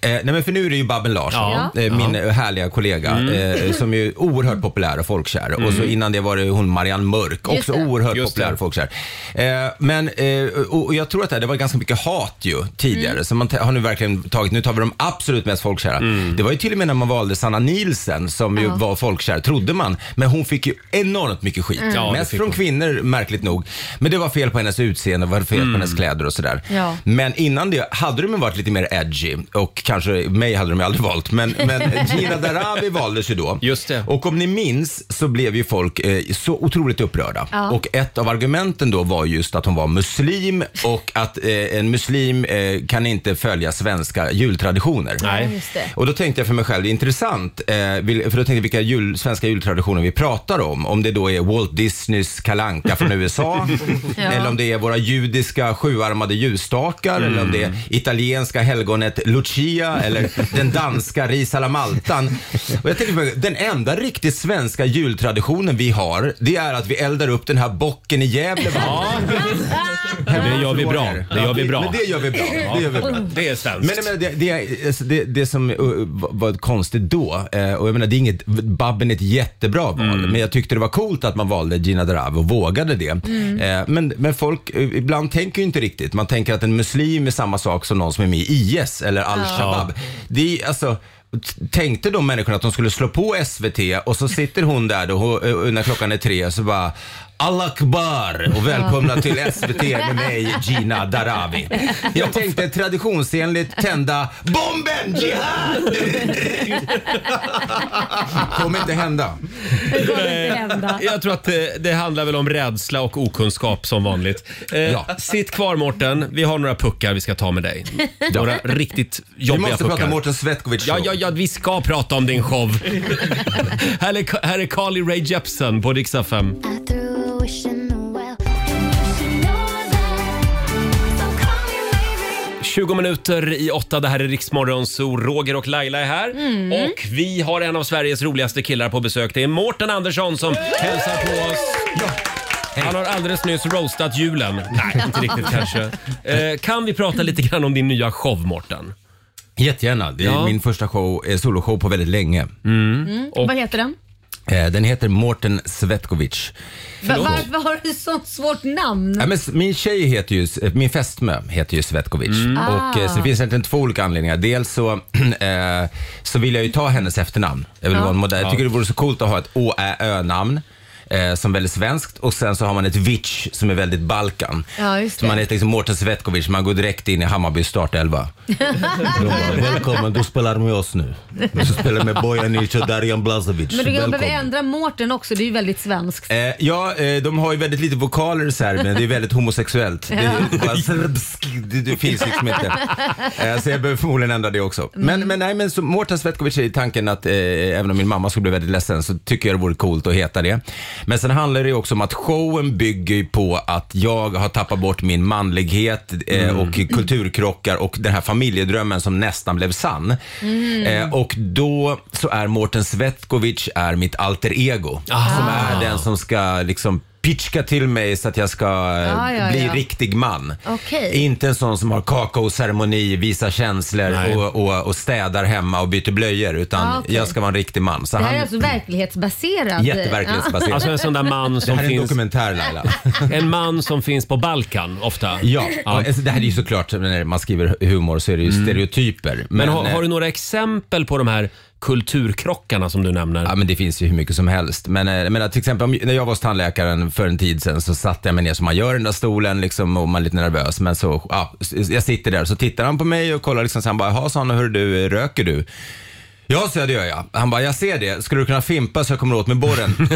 [SPEAKER 10] Eh, nej men för nu är det ju Babben Larsson,
[SPEAKER 3] Ja.
[SPEAKER 10] eh, min
[SPEAKER 3] Ja.
[SPEAKER 10] eh, härliga kollega,
[SPEAKER 3] Mm.
[SPEAKER 10] eh, som är ju oerhört populär och folkkär. Och så
[SPEAKER 3] Mm.
[SPEAKER 10] innan det var det hon Marianne Mörk,
[SPEAKER 3] Just
[SPEAKER 10] också
[SPEAKER 3] det.
[SPEAKER 10] oerhört
[SPEAKER 3] Just
[SPEAKER 10] populär
[SPEAKER 3] det.
[SPEAKER 10] och folkkär. Eh, men, eh, och, och jag tror att det, här, det var ganska mycket hat ju tidigare,
[SPEAKER 3] Mm.
[SPEAKER 10] så man t- har nu verkligen tagit, nu tar vi de absolut mest folkkära. Det var ju till och med när man valde Sanna Nielsen som ju
[SPEAKER 3] Mm. Ja.
[SPEAKER 10] var folkkär, trodde man, men hon fick ju enormt mycket skit.
[SPEAKER 3] Mm. Ja, det
[SPEAKER 10] Mest
[SPEAKER 3] fick
[SPEAKER 10] från kvinnor, märkligt nog. Men det var fel på hennes utseende, var fel på hennes kläder och sådär.
[SPEAKER 3] Mm. Ja.
[SPEAKER 10] Men innan det hade de ju varit lite mer edgy och kanske mig hade de ju aldrig valt. Men, men Gina Darabi valdes ju då. Just det. Och om ni minns så blev ju folk eh, så otroligt upprörda.
[SPEAKER 3] Ja.
[SPEAKER 10] Och ett av argumenten då var just att hon var muslim och att eh, en muslim eh, kan inte följa svenska jultraditioner.
[SPEAKER 3] Nej. Ja, just det.
[SPEAKER 10] Och då tänkte jag för mig själv, det är intressant, eh, vil- för då tänkte jag vilka jul, svenska jultraditioner vi pratar om. Om det då är Walt Disneys kalanka från USA,
[SPEAKER 3] Ja.
[SPEAKER 10] eller om det är våra judiska sjuarmade ljusstakar, eller om det är italienska helgonet Lucia, eller den danska ris à la maltan. Och jag tänker på, den enda riktigt svenska jultraditionen vi har, det är att vi eldar upp den här bocken i Gävle
[SPEAKER 1] Ja.
[SPEAKER 10] Mm.
[SPEAKER 1] Det gör vi bra. Det gör vi bra.
[SPEAKER 10] men det gör vi bra. Det, gör vi bra.
[SPEAKER 1] Det är
[SPEAKER 10] Men,
[SPEAKER 1] svenskt.
[SPEAKER 10] men det, det, är- alltså, det, det som uh, var- var konstigt då, eh, och jag menar det är inget, Babben är ett jättebra val,
[SPEAKER 1] Mm.
[SPEAKER 10] men jag tyckte det var coolt att man valde Gina Daravi och vågade det.
[SPEAKER 3] Mm.
[SPEAKER 10] Eh, Men, men folk, eh, ibland tänker ju inte riktigt, man tänker att en muslim är samma sak som någon som är med i IS eller Al-Shabaab. Det är alltså t- Tänkte de människorna att de skulle slå på SVT och så sitter hon där då, och, eh, när klockan är tre så bara Allah Akbar och välkomna
[SPEAKER 3] Ja.
[SPEAKER 10] till SVT med mig Gina Daravi. Jag tänkte traditionsenligt tända bomben jihad! Kommer inte hända.
[SPEAKER 1] Eh, Jag tror att det, det handlar väl om rädsla och okunskap som vanligt. Eh, Sitt kvar Mårten, vi har några puckar vi ska ta med dig.
[SPEAKER 10] Ja.
[SPEAKER 1] Några riktigt
[SPEAKER 10] Vi
[SPEAKER 1] jobbiga
[SPEAKER 10] måste prata
[SPEAKER 1] puckar.
[SPEAKER 10] Mårten Svetkovic
[SPEAKER 1] Ja,
[SPEAKER 10] show.
[SPEAKER 1] ja, ja, vi ska prata om din show. här, är, här är Carly Rae Jepsen på Dix FM.
[SPEAKER 3] Wishing
[SPEAKER 1] 20 minuter i åtta, det här är Riksmorgon, så Roger och Laila är här.
[SPEAKER 3] Mm.
[SPEAKER 1] Och vi har en av Sveriges roligaste killar på besök. Det är Mårten Andersson som hälsar på oss. Han har alldeles nyss roastat julen. Nej, inte riktigt kanske. Eh, kan vi prata lite grann om din nya show, Mårten?
[SPEAKER 10] Jättegärna. Det är
[SPEAKER 1] Ja.
[SPEAKER 10] min första show, eh, soloshow på väldigt länge.
[SPEAKER 8] Mm.
[SPEAKER 10] Och,
[SPEAKER 8] Vad heter den?
[SPEAKER 10] eh, den heter Mårten Svetkovic.
[SPEAKER 8] Va- Varför har du ett sånt svårt namn?
[SPEAKER 10] Ja, men s- min tjej heter ju, eh, min fästmö heter ju Svetkovic.
[SPEAKER 8] Mm.
[SPEAKER 10] Och, eh, så det
[SPEAKER 8] Ah.
[SPEAKER 10] finns egentligen två olika anledningar. Dels så, eh, så vill jag ju ta hennes efternamn. Jag, vill
[SPEAKER 3] Ja.
[SPEAKER 10] vara en modell. jag tycker
[SPEAKER 3] Ja.
[SPEAKER 10] det vore så coolt att ha ett å ä ö namn eh, som är väldigt svenskt och sen så har man ett Vic som är väldigt Balkan.
[SPEAKER 8] Ja, just
[SPEAKER 10] Så man
[SPEAKER 8] det.
[SPEAKER 10] heter liksom Mårten Svetkovic, man går direkt in i Hammarby startelva. De bara, Välkommen, du spelar med oss nu. Du spelar med Bojan Ic och Darijan Blazovic.
[SPEAKER 8] Men du kan
[SPEAKER 10] Välkommen.
[SPEAKER 8] behöva ändra Mårten också, det är ju väldigt svenskt.
[SPEAKER 10] Eh, ja, eh, de har ju väldigt lite vokaler i Serbien. Det är väldigt homosexuellt. Det, är bara srbsk, det, det finns liksom inte. Eh, så jag behöver förmodligen ändra det också. Men, men nej, men så Mårten Svetkovic är i tanken att eh, även om min mamma skulle bli väldigt ledsen så tycker jag det vore coolt att heta det. Men sen handlar det ju också om att showen bygger ju på att jag har tappat bort min manlighet eh,
[SPEAKER 3] Mm.
[SPEAKER 10] och kulturkrockar och den här familjedrömmen som nästan blev sann.
[SPEAKER 3] Mm.
[SPEAKER 10] Eh, och då så är Mårten Svetkovic är mitt alter ego. Som är den som ska liksom pitchka till mig så att jag ska eh,
[SPEAKER 3] Ah, ja,
[SPEAKER 10] bli
[SPEAKER 3] ja.
[SPEAKER 10] riktig man.
[SPEAKER 3] Okej.
[SPEAKER 10] Inte en sån som har kakaoceremoni, visar känslor och, och, och städar hemma och byter blöjor. Utan
[SPEAKER 8] Ah, okej.
[SPEAKER 10] jag ska vara en riktig man. Så
[SPEAKER 8] Det här är
[SPEAKER 10] han,
[SPEAKER 8] alltså eh, verklighetsbaserat.
[SPEAKER 10] Jätteverklighetsbaserat.
[SPEAKER 1] Alltså en sån där man
[SPEAKER 10] Det
[SPEAKER 1] som
[SPEAKER 10] här är en
[SPEAKER 1] finns...
[SPEAKER 10] dokumentär Laila.
[SPEAKER 1] En man som finns på Balkan ofta.
[SPEAKER 10] Ja, alltså, det här är ju såklart, när man skriver humor så är det ju stereotyper. Men,
[SPEAKER 1] Mm. Men, har,
[SPEAKER 10] eh,
[SPEAKER 1] har du några exempel på de här kulturkrockarna som du nämner?
[SPEAKER 10] Ja, men det finns ju hur mycket som helst. Men, eh, jag menar, till exempel om, när jag var hos tandläkaren för en tid sedan så satte jag mig ner som man gör i den där stolen liksom, och man är lite nervös. Men så, ja, s- jag sitter där så tittar han på mig och kollar liksom, så han bara, jaha, sa han, hur du, eh, röker du? Ja, så det gör jag. Han bara, jag ser det. Skulle du kunna fimpa så jag kommer åt med borren?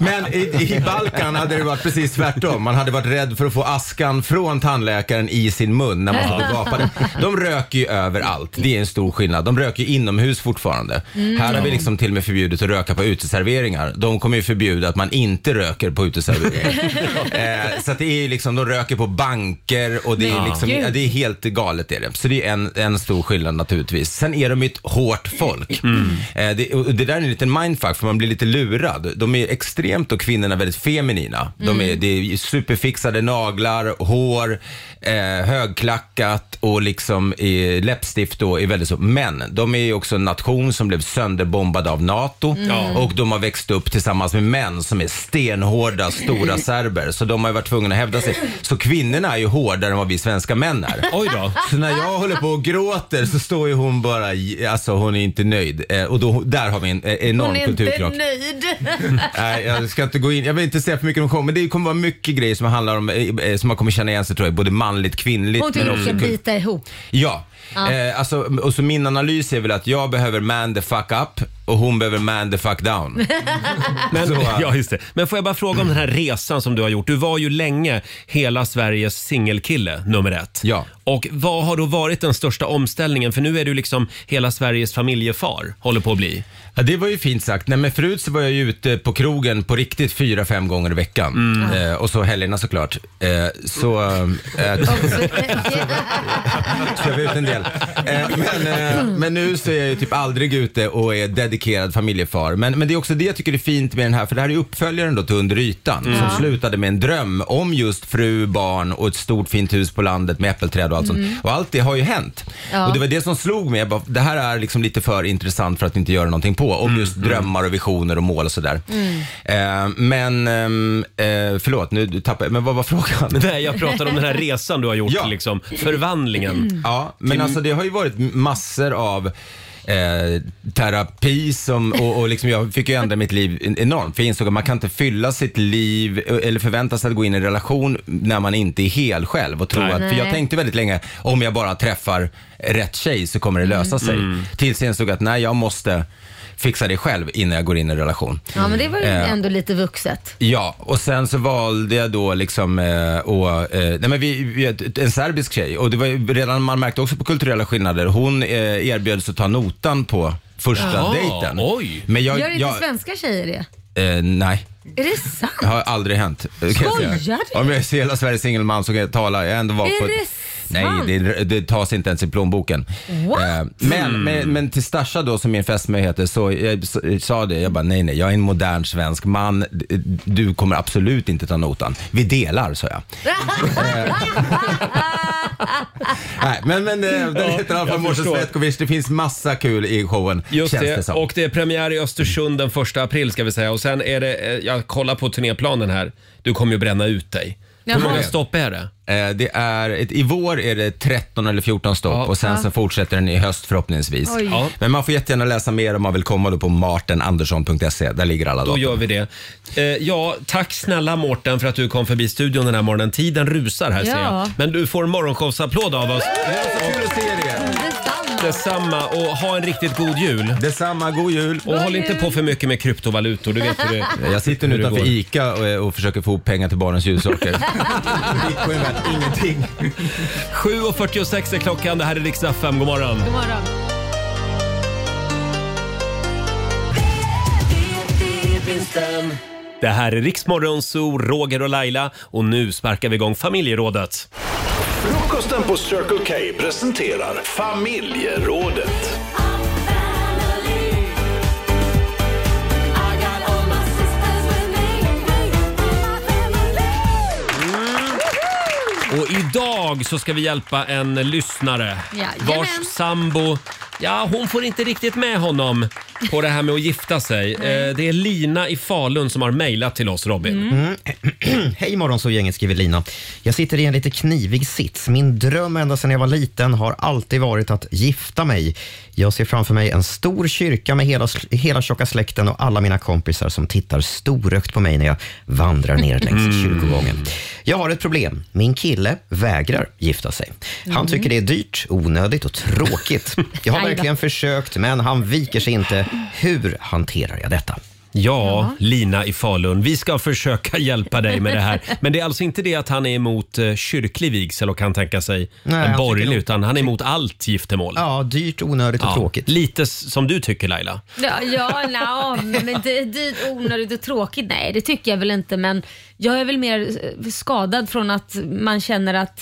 [SPEAKER 10] Men i, i Balkan hade det varit precis tvärtom. Man hade varit rädd för att få askan från tandläkaren i sin mun när man stod och gapade. De röker ju överallt. Det är en stor skillnad. De röker ju inomhus fortfarande.
[SPEAKER 3] Mm.
[SPEAKER 10] Här har vi liksom till och med förbjudit att röka på uteserveringar. De kommer ju förbjuda att man inte röker på uteserveringar. eh, så att det är ju liksom, de röker på banker och det är
[SPEAKER 3] Nej,
[SPEAKER 10] liksom,
[SPEAKER 3] gud.
[SPEAKER 10] ja, det är helt galet är det. Så det är en, en stor skillnad naturligtvis. Sen är de ju väldigt hårt folk.
[SPEAKER 3] Mm.
[SPEAKER 10] Eh, det, och det där är en liten mindfuck för man blir lite lurad. De är extremt och kvinnorna väldigt feminina. De är,
[SPEAKER 3] Mm.
[SPEAKER 10] det är superfixade naglar, hår, eh, högklackat och liksom eh, läppstift då är väldigt så. Men de är ju också en nation som blev sönderbombad av NATO
[SPEAKER 3] Mm.
[SPEAKER 10] och de har växt upp tillsammans med män som är stenhårda, stora serber. Så de har ju varit tvungna att hävda sig. Så kvinnorna är ju hårdare än vad vi svenska män är.
[SPEAKER 1] Oj då.
[SPEAKER 10] Så när jag håller på och gråter så står ju hon bara, alltså hon är inte nöjd. Eh, och då, där har vi en eh, enorm
[SPEAKER 8] Hon är inte
[SPEAKER 10] kulturkrock.
[SPEAKER 8] nöjd.
[SPEAKER 10] Nej, jag ska inte gå in. Jag vill inte säga för mycket om showen, men det kommer vara mycket grejer som handlar om, eh, som man kommer känna igen sig tror jag, både manligt, kvinnligt
[SPEAKER 8] Hon tycker hon ska
[SPEAKER 10] kul-
[SPEAKER 8] bita ihop.
[SPEAKER 10] Ja.
[SPEAKER 8] Ja.
[SPEAKER 10] Eh, alltså, och så min analys är väl att jag behöver man the fuck up och hon behöver man the fuck down.
[SPEAKER 1] Men, ja, just det. Men får jag bara fråga om den här resan som du har gjort. Du var ju länge hela Sveriges singelkille nummer ett.
[SPEAKER 10] Ja.
[SPEAKER 1] Och vad har då varit den största omställningen? För nu är du liksom hela Sveriges familjefar, håller på att bli.
[SPEAKER 10] Ja, det var ju fint sagt. Nej, men förut så var jag ju ute på krogen på riktigt fyra, fem gånger i veckan.
[SPEAKER 3] Mm.
[SPEAKER 10] Eh, och så helgerna såklart. Eh, så... Eh, så jag var ute en del. Eh, men, eh, men nu så är jag ju typ aldrig ute och är dedikerad familjefar. Men, men det är också det jag tycker är fint med den här, för det här är ju uppföljaren då till Under ytan
[SPEAKER 3] Mm.
[SPEAKER 10] som
[SPEAKER 3] Ja.
[SPEAKER 10] slutade med en dröm om just fru, barn och ett stort fint hus på landet med äppelträd och allt
[SPEAKER 3] Mm.
[SPEAKER 10] sånt. Och allt det har ju hänt.
[SPEAKER 3] Ja.
[SPEAKER 10] Och det var det som slog mig, jag bara, det här är liksom lite för intressant för att inte göra någonting på.
[SPEAKER 3] Mm.
[SPEAKER 10] Om just drömmar och visioner och mål och sådär.
[SPEAKER 1] Mm.
[SPEAKER 10] Eh, men, ehm, eh, förlåt, nu tappade jag, men vad var frågan?
[SPEAKER 1] Nej, jag pratar om den här resan du har gjort, liksom, förvandlingen.
[SPEAKER 10] Ja, men alltså det har ju varit massor av Eh, terapi som, och, och liksom jag fick ju ändra mitt liv en- enormt för jag insåg att man kan inte fylla sitt liv eh, eller förvänta sig att gå in i en relation när man inte är hel själv och tro
[SPEAKER 3] Nej.
[SPEAKER 10] att, för jag
[SPEAKER 3] Nej.
[SPEAKER 10] tänkte väldigt länge om jag bara träffar rätt tjej så kommer det lösa
[SPEAKER 8] Mm.
[SPEAKER 10] sig.
[SPEAKER 8] Mm.
[SPEAKER 10] Tills jag insåg att nej, jag måste fixa det själv innan jag går in i en relation.
[SPEAKER 8] Ja men det var ju
[SPEAKER 10] Eh,
[SPEAKER 1] Mm.
[SPEAKER 8] ändå lite vuxet.
[SPEAKER 10] Ja, och sen så valde jag då liksom eh, och, eh, nej men vi, vi, en serbisk tjej och det var ju redan, man märkte också på kulturella skillnader. Hon eh, erbjöds att ta notan på första
[SPEAKER 8] Ja.
[SPEAKER 10] dejten.
[SPEAKER 1] Oj!
[SPEAKER 10] Men jag,
[SPEAKER 8] Gör inte
[SPEAKER 10] jag,
[SPEAKER 8] svenska tjejer det?
[SPEAKER 10] eh, nej.
[SPEAKER 8] Är det sant?
[SPEAKER 10] Det har aldrig hänt. eh, kan jag säga.
[SPEAKER 8] Skojar du?
[SPEAKER 10] Om jag ser hela Sveriges singelman så kan jag tala. Jag har ändå varit
[SPEAKER 8] Är
[SPEAKER 10] på
[SPEAKER 8] det
[SPEAKER 10] Nej,
[SPEAKER 8] sant?
[SPEAKER 10] det, det tas inte ens i plånboken.
[SPEAKER 8] What?
[SPEAKER 10] Eh, men,
[SPEAKER 3] Mm.
[SPEAKER 10] men, men till Stasha då, som min fästmö heter, så jag s- sa det, jag bara nej, nej, jag är en modern svensk man. D- Du kommer absolut inte ta notan. Vi delar, sa jag. Eh, Nej, men, men eh, den
[SPEAKER 1] Ja,
[SPEAKER 10] heter i alla fall
[SPEAKER 1] jag
[SPEAKER 10] Morse
[SPEAKER 1] förstår.
[SPEAKER 10] Svetkovic. Det finns massa kul i showen,
[SPEAKER 1] Just
[SPEAKER 10] känns det,
[SPEAKER 1] det,
[SPEAKER 10] som.
[SPEAKER 1] och det är premiär i Östersund den 1 april ska vi säga. Och sen är det, eh, jag kollar på turnéplanen här, du kommer ju bränna ut dig. Hur
[SPEAKER 10] Jaha.
[SPEAKER 1] många stopp är det?
[SPEAKER 10] Eh, Det är, ett, I vår är det 13 eller 14 stopp och sen
[SPEAKER 1] Ja.
[SPEAKER 10] så fortsätter den i höst förhoppningsvis.
[SPEAKER 1] Oj. Ja.
[SPEAKER 10] Men man får jättegärna läsa mer om man vill komma då på martenandersson.se. Där ligger alla
[SPEAKER 1] Då
[SPEAKER 10] datum.
[SPEAKER 1] gör vi det. Eh, ja, tack snälla Mårten för att du kom förbi studion den här morgonen. Tiden rusar här ser
[SPEAKER 3] Ja.
[SPEAKER 1] jag. Men du får en morgonshowsapplåd av oss.
[SPEAKER 10] Kul att se er!
[SPEAKER 1] Detsamma och ha en riktigt god jul.
[SPEAKER 10] Detsamma, god jul.
[SPEAKER 1] Och håll inte på för mycket med kryptovalutor. Du vet hur det,
[SPEAKER 10] Jag sitter nu
[SPEAKER 1] hur det
[SPEAKER 10] utanför
[SPEAKER 1] går.
[SPEAKER 10] ICA och, och försöker få ihop pengar till barnens ljussaker.
[SPEAKER 1] 7.46 är klockan. Det här är riksdag 5. God morgon.
[SPEAKER 8] God morgon.
[SPEAKER 1] Det här är Riksmorgon Zoo, Roger och Laila och nu sparkar vi igång familjerådet.
[SPEAKER 3] Frukosten på Circle K presenterar familjerådet.
[SPEAKER 1] Och idag så ska vi hjälpa en lyssnare
[SPEAKER 3] Jajamän.
[SPEAKER 1] vars sambo, ja hon får inte riktigt med honom på det här med att gifta sig. Eh, det är Lina i Falun som har mejlat till oss Robin.
[SPEAKER 5] Mm. Hej morgonsågänget, skriver Lina. Jag sitter i en lite knivig sits. Min dröm ända sedan jag var liten har alltid varit att gifta mig. Jag ser framför mig en stor kyrka med hela, hela tjocka släkten och alla mina kompisar som tittar storögt på mig när jag vandrar ner längs
[SPEAKER 11] Mm.
[SPEAKER 5] kyrkogången. Jag har ett problem. Min kille vägrar gifta sig. Han
[SPEAKER 11] Mm.
[SPEAKER 5] tycker det är dyrt, onödigt och tråkigt. Jag
[SPEAKER 11] Aj
[SPEAKER 5] har
[SPEAKER 11] då.
[SPEAKER 5] verkligen försökt, men han viker sig inte. Hur hanterar jag detta?
[SPEAKER 1] Ja, Lina i Falun, vi ska försöka hjälpa dig med det här. Men det är alltså inte det att han är emot eh, kyrklig vigsel och kan tänka sig
[SPEAKER 5] Nej, han
[SPEAKER 1] en
[SPEAKER 5] tycker
[SPEAKER 1] borgerlig,
[SPEAKER 5] nog-
[SPEAKER 1] utan han är emot allt giftermål.
[SPEAKER 5] Ja, dyrt, onödigt
[SPEAKER 1] och tråkigt. Lite s- som du tycker Laila.
[SPEAKER 2] Oh,
[SPEAKER 8] Ja, ja no, men det är dyrt, onödigt och tråkigt. Nej, det tycker jag väl inte. Men
[SPEAKER 2] Jag är väl mer eh, skadad från att man känner att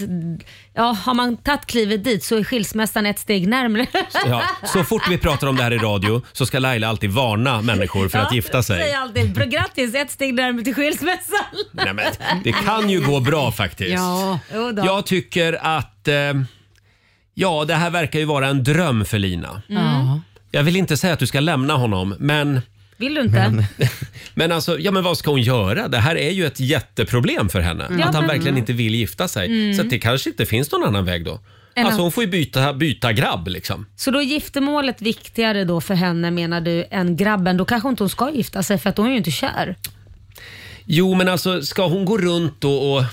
[SPEAKER 2] ja, har man tagit klivet dit så är skilsmässan ett steg närmre.
[SPEAKER 1] Ja, så fort vi pratar om det här i radio så ska Laila alltid varna människor för att
[SPEAKER 2] Ja,
[SPEAKER 1] gifta sig.
[SPEAKER 2] Säger alltid "Bra, grattis, ett steg närmare till skilsmässan.
[SPEAKER 1] Nej, men, det kan ju gå bra faktiskt.
[SPEAKER 2] Ja, jo då.
[SPEAKER 1] Jag tycker att eh, ja, det här verkar ju vara en dröm för Lina.
[SPEAKER 2] Mm.
[SPEAKER 1] Jag vill inte säga att du ska lämna honom, men
[SPEAKER 2] Vill du inte?
[SPEAKER 1] Men alltså, ja men vad ska hon göra? Det här är ju ett jätteproblem för henne.
[SPEAKER 2] Mm. Ja,
[SPEAKER 1] att han
[SPEAKER 2] men-
[SPEAKER 1] verkligen inte vill gifta sig.
[SPEAKER 2] Mm.
[SPEAKER 1] Så att det kanske inte finns någon annan väg då.
[SPEAKER 2] Än
[SPEAKER 1] Alltså
[SPEAKER 2] att-
[SPEAKER 1] hon får ju byta, byta grabb liksom.
[SPEAKER 2] Så då är giftermålet viktigare då för henne menar du än grabben? Då kanske inte hon ska gifta sig för att hon är ju inte kär.
[SPEAKER 1] Jo men alltså, ska hon gå runt och, och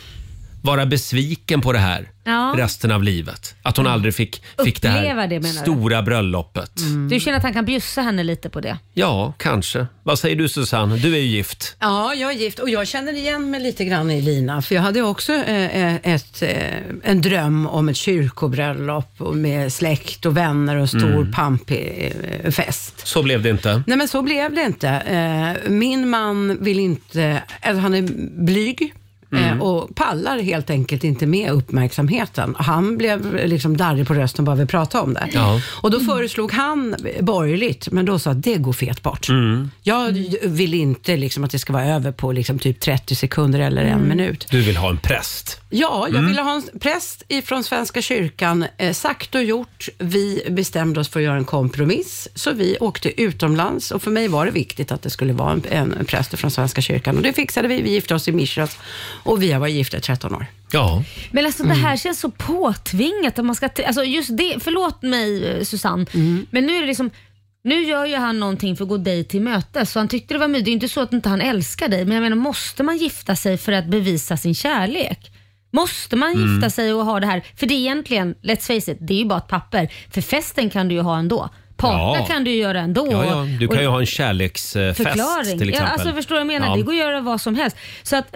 [SPEAKER 1] vara besviken på det här
[SPEAKER 2] Ja.
[SPEAKER 1] resten av livet? Att hon aldrig fick, fick det
[SPEAKER 2] Uppleva
[SPEAKER 1] här
[SPEAKER 2] det, menar du? Mm.
[SPEAKER 1] stora bröllopet?
[SPEAKER 2] Du känner att han kan bjussa henne lite på det?
[SPEAKER 1] Ja, kanske. Vad säger du Susanne? Du är ju gift.
[SPEAKER 6] Ja, jag är gift och jag känner igen mig lite grann i Lina, för jag hade också eh, eh, ett, eh, en dröm om ett kyrkobröllop och med släkt och vänner och stor
[SPEAKER 1] Mm.
[SPEAKER 6] pampig eh, fest.
[SPEAKER 1] Så blev det inte.
[SPEAKER 6] Nej men så blev det inte. Eh, Min man vill inte, alltså han är blyg. eh,
[SPEAKER 1] Mm.
[SPEAKER 6] och pallar helt enkelt inte med uppmärksamheten. Han blev liksom darrig på rösten bara vi pratade om det.
[SPEAKER 11] Ja.
[SPEAKER 6] Och då föreslog han borgerligt, men då sa att det går fet bort.
[SPEAKER 1] Mm.
[SPEAKER 6] Jag vill inte liksom att det ska vara över på liksom typ 30 sekunder eller en
[SPEAKER 1] Mm.
[SPEAKER 6] minut.
[SPEAKER 1] Du vill ha en präst.
[SPEAKER 6] Ja, jag
[SPEAKER 1] Mm.
[SPEAKER 6] ville ha en präst ifrån Svenska kyrkan. Eh, sagt och gjort. Vi bestämde oss för att göra en kompromiss, så vi åkte utomlands. Och för mig var det viktigt att det skulle vara en, en präst från Svenska kyrkan. Och det fixade vi. Vi gifte oss i Mishras och vi har varit gifta i 13 år.
[SPEAKER 1] Ja.
[SPEAKER 2] Men alltså
[SPEAKER 1] Mm.
[SPEAKER 2] det här känns så påtvingat. Att man ska t- alltså just det, förlåt mig eh, Susanne,
[SPEAKER 1] Mm.
[SPEAKER 2] men nu är det liksom nu gör ju han någonting för att gå dig till mötes så han tyckte det var mysigt. Det är ju inte så att inte han älskar dig men jag menar måste man gifta sig för att bevisa sin kärlek? Måste man
[SPEAKER 8] Mm.
[SPEAKER 2] gifta sig och ha det här? För det är egentligen, let's face it, det är ju bara ett papper. För festen kan du ju ha ändå. Parta
[SPEAKER 1] Ja.
[SPEAKER 2] kan du ju göra ändå.
[SPEAKER 1] Ja, ja. Du kan
[SPEAKER 2] Och-
[SPEAKER 1] ju ha en kärleksfest
[SPEAKER 2] förklaring.
[SPEAKER 1] eh, till exempel.
[SPEAKER 2] Ja, alltså, förstår du vad jag menar?
[SPEAKER 1] Ja.
[SPEAKER 2] Det går att göra vad som helst. Så att,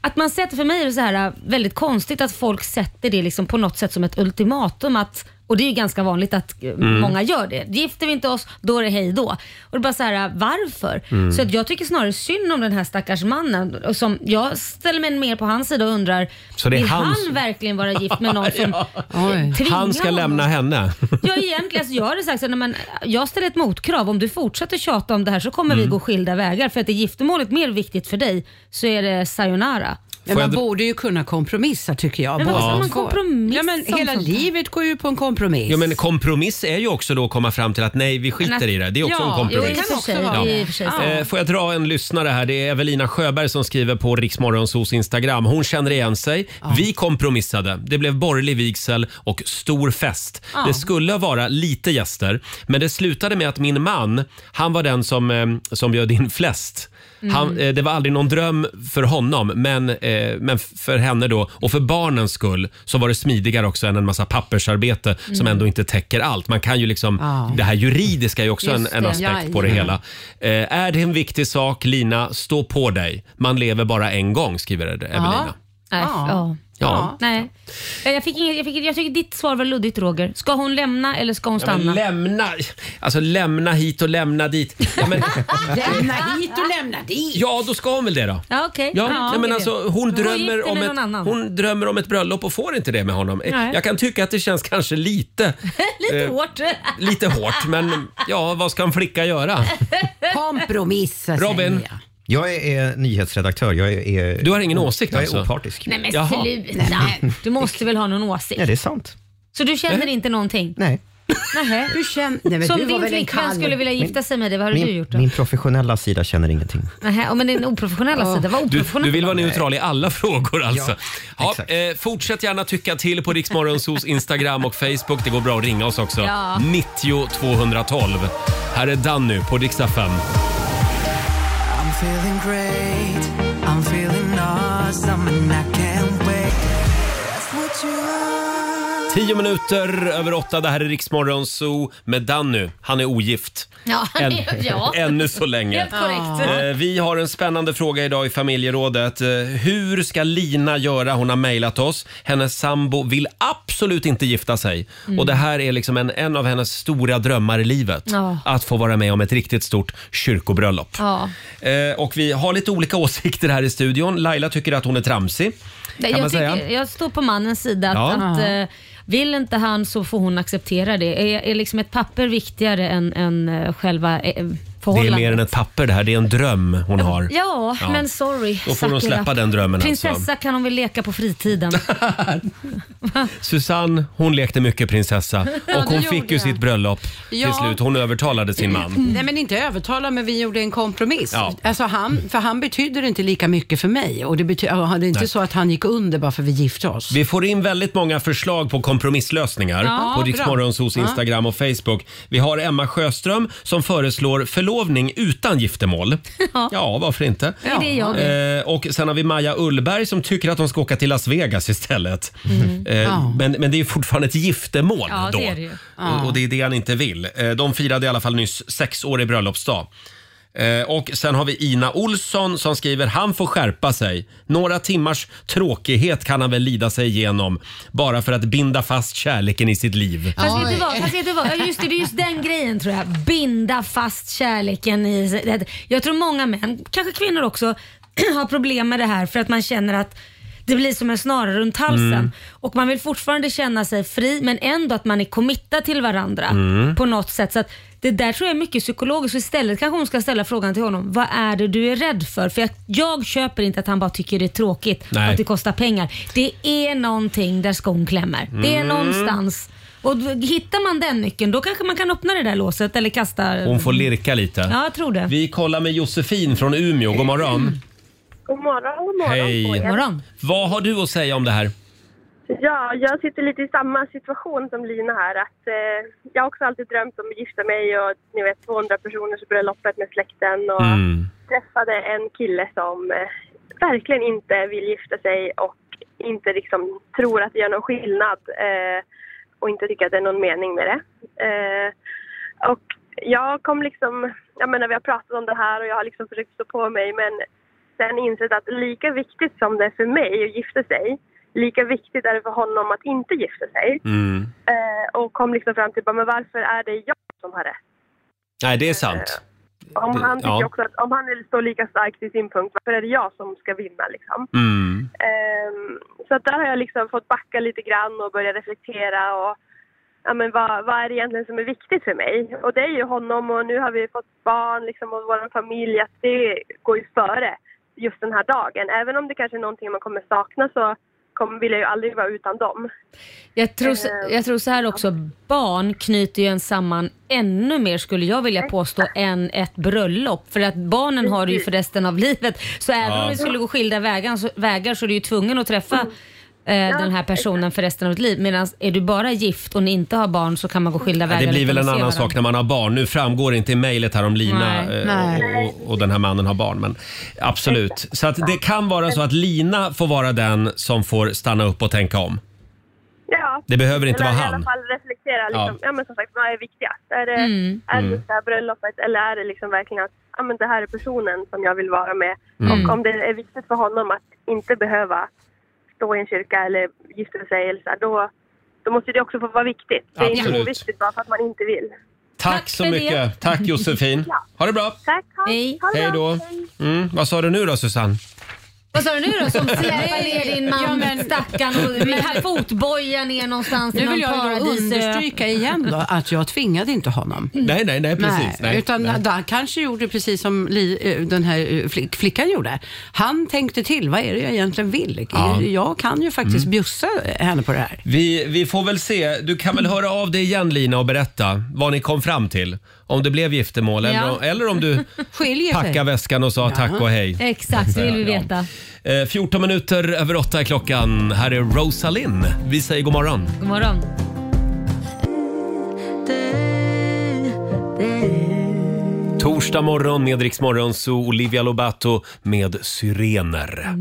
[SPEAKER 2] att man sätter, för mig är det så här äh, väldigt konstigt att folk sätter det liksom på något sätt som ett ultimatum. Att, och det är ju ganska vanligt att eh,
[SPEAKER 8] Mm.
[SPEAKER 2] många gör det. Gifter vi inte oss, då är det hej då. Och det är bara så här, äh, varför?
[SPEAKER 8] Mm.
[SPEAKER 2] Så att jag tycker snarare synd om den här stackars mannen. Och som, jag ställer mig mer på hans sida och undrar,
[SPEAKER 1] Så det är
[SPEAKER 2] vill
[SPEAKER 1] han
[SPEAKER 2] han,
[SPEAKER 1] som-
[SPEAKER 2] verkligen vara gift med någon som tvingar
[SPEAKER 1] Han ska
[SPEAKER 2] honom?
[SPEAKER 1] lämna henne.
[SPEAKER 2] Ja, egentligen. Alltså, jag hade sagt så, här, nej, men, jag ställer ett motkrav. Om du fortsätter tjata om det här så kommer
[SPEAKER 1] Mm.
[SPEAKER 2] vi gå skilda vägar. För att är giftermålet mer viktigt för dig så är det sayonara.
[SPEAKER 6] Men man borde ju kunna kompromissa tycker jag.
[SPEAKER 2] Men vad
[SPEAKER 6] båda
[SPEAKER 1] ska man
[SPEAKER 6] två.
[SPEAKER 2] kompromissa
[SPEAKER 6] ja, men
[SPEAKER 2] om
[SPEAKER 6] Hela
[SPEAKER 2] sånt här?
[SPEAKER 6] livet går ju på en kompromiss.
[SPEAKER 1] Ja, men kompromiss är ju också då att komma fram till att nej, vi skiter i det. Det är också
[SPEAKER 6] Ja,
[SPEAKER 1] en kompromiss.
[SPEAKER 6] jo, det kan också vara. Det är i och för sig sant.
[SPEAKER 1] Eh, Får jag dra en lyssnare här? Det är Evelina Sjöberg som skriver på Riksmorgonsos Instagram. Hon känner igen sig. Vi kompromissade. Det blev borgerlig vigsel och stor fest.
[SPEAKER 12] Ja.
[SPEAKER 1] Det skulle vara lite gäster, men det slutade med att min man, han var den som, eh, som bjöd in flest. Han,
[SPEAKER 12] Mm.
[SPEAKER 1] eh, det var aldrig någon dröm för honom, men, eh, men för henne då och för barnens skull så var det smidigare också än en massa pappersarbete som
[SPEAKER 12] Mm.
[SPEAKER 1] ändå inte täcker allt. Man kan ju liksom,
[SPEAKER 12] Ja.
[SPEAKER 1] Det här juridiska är ju också en,
[SPEAKER 12] Just
[SPEAKER 1] en
[SPEAKER 12] det.
[SPEAKER 1] aspekt på det
[SPEAKER 12] Jajamän.
[SPEAKER 1] hela. Eh, är det en viktig sak, Lina, stå på dig. Man lever bara en gång, skriver Evelina.
[SPEAKER 2] Nej, ja. Ja.
[SPEAKER 1] Ja.
[SPEAKER 2] Nej. Eh, Jag, fick inget, jag, fick, jag tycker ditt svar var luddigt Roger. Ska hon lämna eller ska hon
[SPEAKER 1] Ja, men
[SPEAKER 2] stanna?
[SPEAKER 1] lämna! Alltså lämna hit och lämna dit. Ja, men,
[SPEAKER 6] Lämna hit och lämna dit.
[SPEAKER 1] ja då ska hon väl det då.
[SPEAKER 2] Ja, okej.
[SPEAKER 1] Ja,
[SPEAKER 2] Ja,
[SPEAKER 1] nej, men
[SPEAKER 2] okej.
[SPEAKER 1] alltså, hon,
[SPEAKER 2] Hon
[SPEAKER 1] drömmer
[SPEAKER 2] gifter
[SPEAKER 1] om
[SPEAKER 2] med någon
[SPEAKER 1] ett,
[SPEAKER 2] annan.
[SPEAKER 1] hon drömmer om ett bröllop och får inte det med honom. Eh,
[SPEAKER 2] Nej.
[SPEAKER 1] Jag kan tycka att det känns kanske lite,
[SPEAKER 2] Lite
[SPEAKER 1] eh,
[SPEAKER 2] hårt.
[SPEAKER 1] lite hårt, men ja, vad ska en flicka göra?
[SPEAKER 6] Kompromissa
[SPEAKER 1] Robin?
[SPEAKER 6] säger jag.
[SPEAKER 5] Jag är, är nyhetsredaktör. Jag är, är,
[SPEAKER 1] du har ingen åsikt
[SPEAKER 5] jag
[SPEAKER 1] alltså?
[SPEAKER 5] är opartisk.
[SPEAKER 2] Nej men
[SPEAKER 5] Jaha.
[SPEAKER 2] sluta. Du måste väl ha någon åsikt?
[SPEAKER 5] Nej, det är sant.
[SPEAKER 2] Så du känner inte någonting?
[SPEAKER 5] Nej.
[SPEAKER 2] Nähä.
[SPEAKER 6] Du känner, nej, men
[SPEAKER 2] så om
[SPEAKER 6] du var
[SPEAKER 2] din
[SPEAKER 6] väl en
[SPEAKER 2] flickvän
[SPEAKER 6] kall-
[SPEAKER 2] skulle vilja gifta sig med dig, vad hade du
[SPEAKER 5] Min,
[SPEAKER 2] gjort då?
[SPEAKER 5] min professionella sida känner ingenting.
[SPEAKER 2] Nähä, ja, men din oprofessionella sida, vad
[SPEAKER 1] Du,
[SPEAKER 2] oprofessionell?
[SPEAKER 1] du vill vara neutral i alla frågor alltså? Ja, eh, fortsätt gärna tycka till på Riksmorgonsos Instagram och Facebook. Det går bra att ringa oss också.
[SPEAKER 12] Ja.
[SPEAKER 1] 90 212. Här är Danny på Dix FM.
[SPEAKER 12] I'm feeling great, I'm feeling awesome and I can't wait. That's what you are.
[SPEAKER 1] Tio minuter över åtta, det här är Riksmorgon Zoo med Danny. Han är ogift.
[SPEAKER 8] Ja,
[SPEAKER 1] Än,
[SPEAKER 8] ja.
[SPEAKER 1] Ännu så länge.
[SPEAKER 8] Helt korrekt. Ja.
[SPEAKER 1] Eh, Vi har en spännande fråga idag i familjerådet. Eh, Hur ska Lina göra? Hon har mejlat oss. Hennes sambo vill absolut inte gifta sig.
[SPEAKER 2] Mm.
[SPEAKER 1] Och det här är liksom en, en av hennes stora drömmar i livet.
[SPEAKER 2] Ja.
[SPEAKER 1] Att få vara med om ett riktigt stort kyrkobröllop.
[SPEAKER 8] Ja.
[SPEAKER 1] Eh, Och vi har lite olika åsikter här i studion. Laila tycker att hon är tramsig. Kan
[SPEAKER 2] jag,
[SPEAKER 1] man säga.
[SPEAKER 2] tycker, jag står på mannens sida. Att,
[SPEAKER 1] Ja.
[SPEAKER 2] att,
[SPEAKER 1] Ja.
[SPEAKER 2] eh, vill inte han så får hon acceptera det. Är, är liksom ett papper viktigare än, än eh, själva eh,
[SPEAKER 1] Det är
[SPEAKER 2] förhållandet?
[SPEAKER 1] mer än ett papper det här, det är en dröm hon har.
[SPEAKER 2] Ja,
[SPEAKER 1] Ja.
[SPEAKER 2] men sorry.
[SPEAKER 1] Då får hon
[SPEAKER 2] Suck it
[SPEAKER 1] släppa
[SPEAKER 2] up.
[SPEAKER 1] den drömmen
[SPEAKER 2] Prinsessa
[SPEAKER 1] alltså.
[SPEAKER 2] kan hon väl leka på fritiden.
[SPEAKER 1] Susanne, hon lekte mycket prinsessa
[SPEAKER 6] Ja,
[SPEAKER 1] och
[SPEAKER 6] det
[SPEAKER 1] hon
[SPEAKER 6] gjorde
[SPEAKER 1] fick ju
[SPEAKER 6] jag.
[SPEAKER 1] sitt bröllop till
[SPEAKER 6] Ja.
[SPEAKER 1] slut. Hon övertalade sin man.
[SPEAKER 6] Nej men inte övertala men vi gjorde en kompromiss.
[SPEAKER 1] Mm. Ja. Mm.
[SPEAKER 6] Alltså han, för han betyder inte lika mycket för mig och det, bety- ja, det är inte
[SPEAKER 1] Nej.
[SPEAKER 6] så att han gick under bara för vi gifte oss.
[SPEAKER 1] Vi får in väldigt många förslag på kompromisslösningar
[SPEAKER 6] Ja,
[SPEAKER 1] på
[SPEAKER 6] bra.
[SPEAKER 1] Riksmorgonsos
[SPEAKER 6] Ja.
[SPEAKER 1] Instagram och Facebook. Vi har Emma Sjöström som föreslår förlovning utan giftermål. Ja, varför inte?
[SPEAKER 2] Det är det jag
[SPEAKER 1] Eh, och sen har vi Maja Ullberg som tycker att hon ska åka till Las Vegas istället.
[SPEAKER 2] Mm.
[SPEAKER 1] Eh,
[SPEAKER 2] Ja.
[SPEAKER 1] men, men det är ju fortfarande ett giftermål
[SPEAKER 2] Ja,
[SPEAKER 1] då.
[SPEAKER 2] det är det ju.
[SPEAKER 1] Och, och det är det han inte vill. Eh, De firade i alla fall nyss sexårig bröllopsdag. Eh, Och sen har vi Ina Olsson som skriver han får skärpa sig. Några timmars tråkighet kan han väl lida sig igenom bara för att binda fast kärleken i sitt liv.
[SPEAKER 2] Fast vet, du vad, fast vet du vad? Ja, Just det, det är just den grejen tror jag. Binda fast kärleken i sig. Jag tror många män, kanske kvinnor också, har problem med det här för att man känner att det blir som en snara runt halsen.
[SPEAKER 8] Mm.
[SPEAKER 2] Och man vill fortfarande känna sig fri men ändå att man är committad till varandra
[SPEAKER 8] Mm.
[SPEAKER 2] på något sätt. Så att det där tror jag är mycket psykologiskt. Så Istället kanske hon ska ställa frågan till honom. Vad är det du är rädd för? För jag, jag köper inte att han bara tycker det är tråkigt
[SPEAKER 1] Nej.
[SPEAKER 2] och att det kostar pengar. Det är någonting där skon klämmer. Det är
[SPEAKER 1] Mm.
[SPEAKER 2] någonstans. Och då- hittar man den nyckeln då kanske man kan öppna det där låset eller kasta...
[SPEAKER 1] Hon får lirka lite.
[SPEAKER 2] Ja, jag tror det. Mm.
[SPEAKER 1] Vi kollar med Josefin från Umeå. God morgon.
[SPEAKER 4] God morgon, god morgon
[SPEAKER 1] Hej.
[SPEAKER 4] på er.
[SPEAKER 1] Vad har du att säga om det här?
[SPEAKER 4] Ja, jag sitter lite i samma situation som Lina här. Att, eh, jag har också alltid drömt om att gifta mig och ni vet 200 personers bröllopet med släkten och
[SPEAKER 11] Mm.
[SPEAKER 4] träffade en kille som eh, verkligen inte vill gifta sig och inte liksom tror att det gör någon skillnad eh, och inte tycker att det är någon mening med det. Eh, och jag kom liksom, jag menar vi har pratat om det här och jag har liksom försökt stå på mig men sen insett att lika viktigt som det är för mig att gifta sig, lika viktigt är det för honom att inte gifta sig.
[SPEAKER 1] Mm.
[SPEAKER 4] Eh, och kom liksom fram till, bara, men varför är det jag som har rätt?
[SPEAKER 1] Nej, det är sant.
[SPEAKER 4] Om
[SPEAKER 1] Det-
[SPEAKER 4] han tycker
[SPEAKER 1] ja.
[SPEAKER 4] också att om han vill stå lika starkt i sin punkt, varför är det jag som ska vinna liksom?
[SPEAKER 1] Mm.
[SPEAKER 4] Ehm, så att där har jag liksom fått backa lite grann och börja reflektera och ja, men vad, vad är det egentligen som är viktigt för mig? Och det är ju honom och nu har vi fått barn liksom och vår familj att det går ju före just den här dagen. Även om det kanske är någonting man kommer sakna så kommer, vill jag ju aldrig vara utan dem.
[SPEAKER 2] Jag tror, så- jag tror så här också, barn knyter ju en samman ännu mer skulle jag vilja påstå än ett bröllop. För att barnen har det ju för resten av livet. Så även
[SPEAKER 8] Ja.
[SPEAKER 2] om vi skulle gå skilda vägar så, vägar så är du ju tvungen att träffa eh, den här personen för resten av ditt liv. Medan är du bara gift och ni inte har barn så kan man gå skilda
[SPEAKER 1] Ja,
[SPEAKER 2] vägar.
[SPEAKER 1] det blir väl en
[SPEAKER 2] utan att se
[SPEAKER 1] annan
[SPEAKER 2] varandra.
[SPEAKER 1] sak när man har barn. Nu framgår inte i mejlet här om Lina
[SPEAKER 2] Nej.
[SPEAKER 1] eh,
[SPEAKER 2] Nej.
[SPEAKER 1] Och, och, och den här mannen har barn. Men absolut. Så att det kan vara så att Lina får vara den som får stanna upp och tänka om.
[SPEAKER 4] Ja.
[SPEAKER 1] Det behöver inte
[SPEAKER 4] Eller
[SPEAKER 1] vara
[SPEAKER 4] i alla
[SPEAKER 1] han.
[SPEAKER 4] fall reflektera liksom,
[SPEAKER 1] Ja.
[SPEAKER 4] ja. men som sagt, vad är viktigast? Är det,
[SPEAKER 1] Mm.
[SPEAKER 4] är det
[SPEAKER 1] Mm.
[SPEAKER 4] just det här bröllopet eller är det liksom verkligen att ja, men det här är personen som jag vill vara med?
[SPEAKER 1] Mm.
[SPEAKER 4] Och om det är viktigt för honom att inte behöva stå i en kyrka eller gifta sig eller så här, då, då måste det också få vara viktigt. Det är inte
[SPEAKER 1] Absolut.
[SPEAKER 4] oviktigt bara för att man inte vill.
[SPEAKER 1] Tack, så
[SPEAKER 4] för
[SPEAKER 1] mycket.
[SPEAKER 4] det.
[SPEAKER 1] Tack Josefin.
[SPEAKER 4] Ja.
[SPEAKER 1] Ha det bra.
[SPEAKER 4] Tack, ha, Hej. Ha det
[SPEAKER 1] Hej
[SPEAKER 4] bra.
[SPEAKER 1] då. Mm, vad sa du nu då Susanne?
[SPEAKER 8] Vad sa du nu då? Som släpar
[SPEAKER 2] Nej.
[SPEAKER 8] ner din man,
[SPEAKER 2] Ja,
[SPEAKER 8] ja,
[SPEAKER 2] men-
[SPEAKER 8] stackarn, och
[SPEAKER 2] Men-
[SPEAKER 8] med här fotbojan ner någonstans i
[SPEAKER 6] Nu
[SPEAKER 8] någon
[SPEAKER 6] vill jag ju då
[SPEAKER 8] paradisö.
[SPEAKER 6] understryka igen då att jag tvingade inte honom.
[SPEAKER 1] Mm. Nej, nej, nej, precis. Nej,
[SPEAKER 6] utan
[SPEAKER 1] nej.
[SPEAKER 6] han kanske gjorde precis som li, eh, den här eh, flick, flickan gjorde. Han tänkte till, vad är det jag egentligen vill?
[SPEAKER 1] Ja.
[SPEAKER 6] Jag kan ju faktiskt
[SPEAKER 1] Mm.
[SPEAKER 6] bjussa henne på det här.
[SPEAKER 1] Vi, vi får väl se. Du kan väl höra av dig igen Lina och berätta vad ni kom fram till. Om det blev giftermål eller,
[SPEAKER 2] Ja.
[SPEAKER 1] om, eller om du
[SPEAKER 2] Skiljer sig.
[SPEAKER 1] packade väskan och sa tack och hej.
[SPEAKER 2] Exakt, det vill vi
[SPEAKER 1] Ja.
[SPEAKER 2] veta.
[SPEAKER 1] Eh, 14 minuter över 8 är klockan. Här är Rosalind. Vi säger god morgon.
[SPEAKER 2] God morgon.
[SPEAKER 1] Torsdag morgon med Rix Morgon, så Olivia Lobato med Syrener.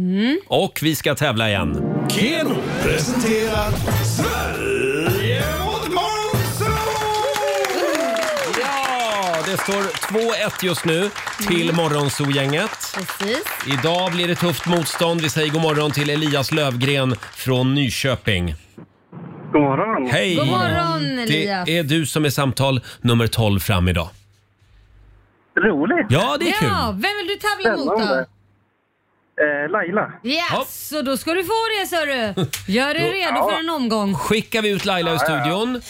[SPEAKER 1] Och vi ska tävla igen.
[SPEAKER 3] Keno presenterar Sverige.
[SPEAKER 1] står 2-1 just nu till
[SPEAKER 2] Mm.
[SPEAKER 1] Morgonzoo-gänget.
[SPEAKER 2] Precis.
[SPEAKER 1] Idag blir det tufft motstånd. Vi säger god morgon till Elias Lövgren från Nyköping. God morgon. Hej!
[SPEAKER 2] God morgon, Elias.
[SPEAKER 1] Det är du som är samtal nummer 12 fram idag. Roligt! Ja, det är kul.
[SPEAKER 2] Ja, vem vill du tävla mot då? Eh,
[SPEAKER 11] Laila.
[SPEAKER 2] Yes, så då ska du få det ser du. Gör dig
[SPEAKER 1] Då-
[SPEAKER 2] redo
[SPEAKER 1] Ja.
[SPEAKER 2] för en omgång.
[SPEAKER 1] skickar vi ut Laila ur
[SPEAKER 2] Ja, ja, ja.
[SPEAKER 1] studion.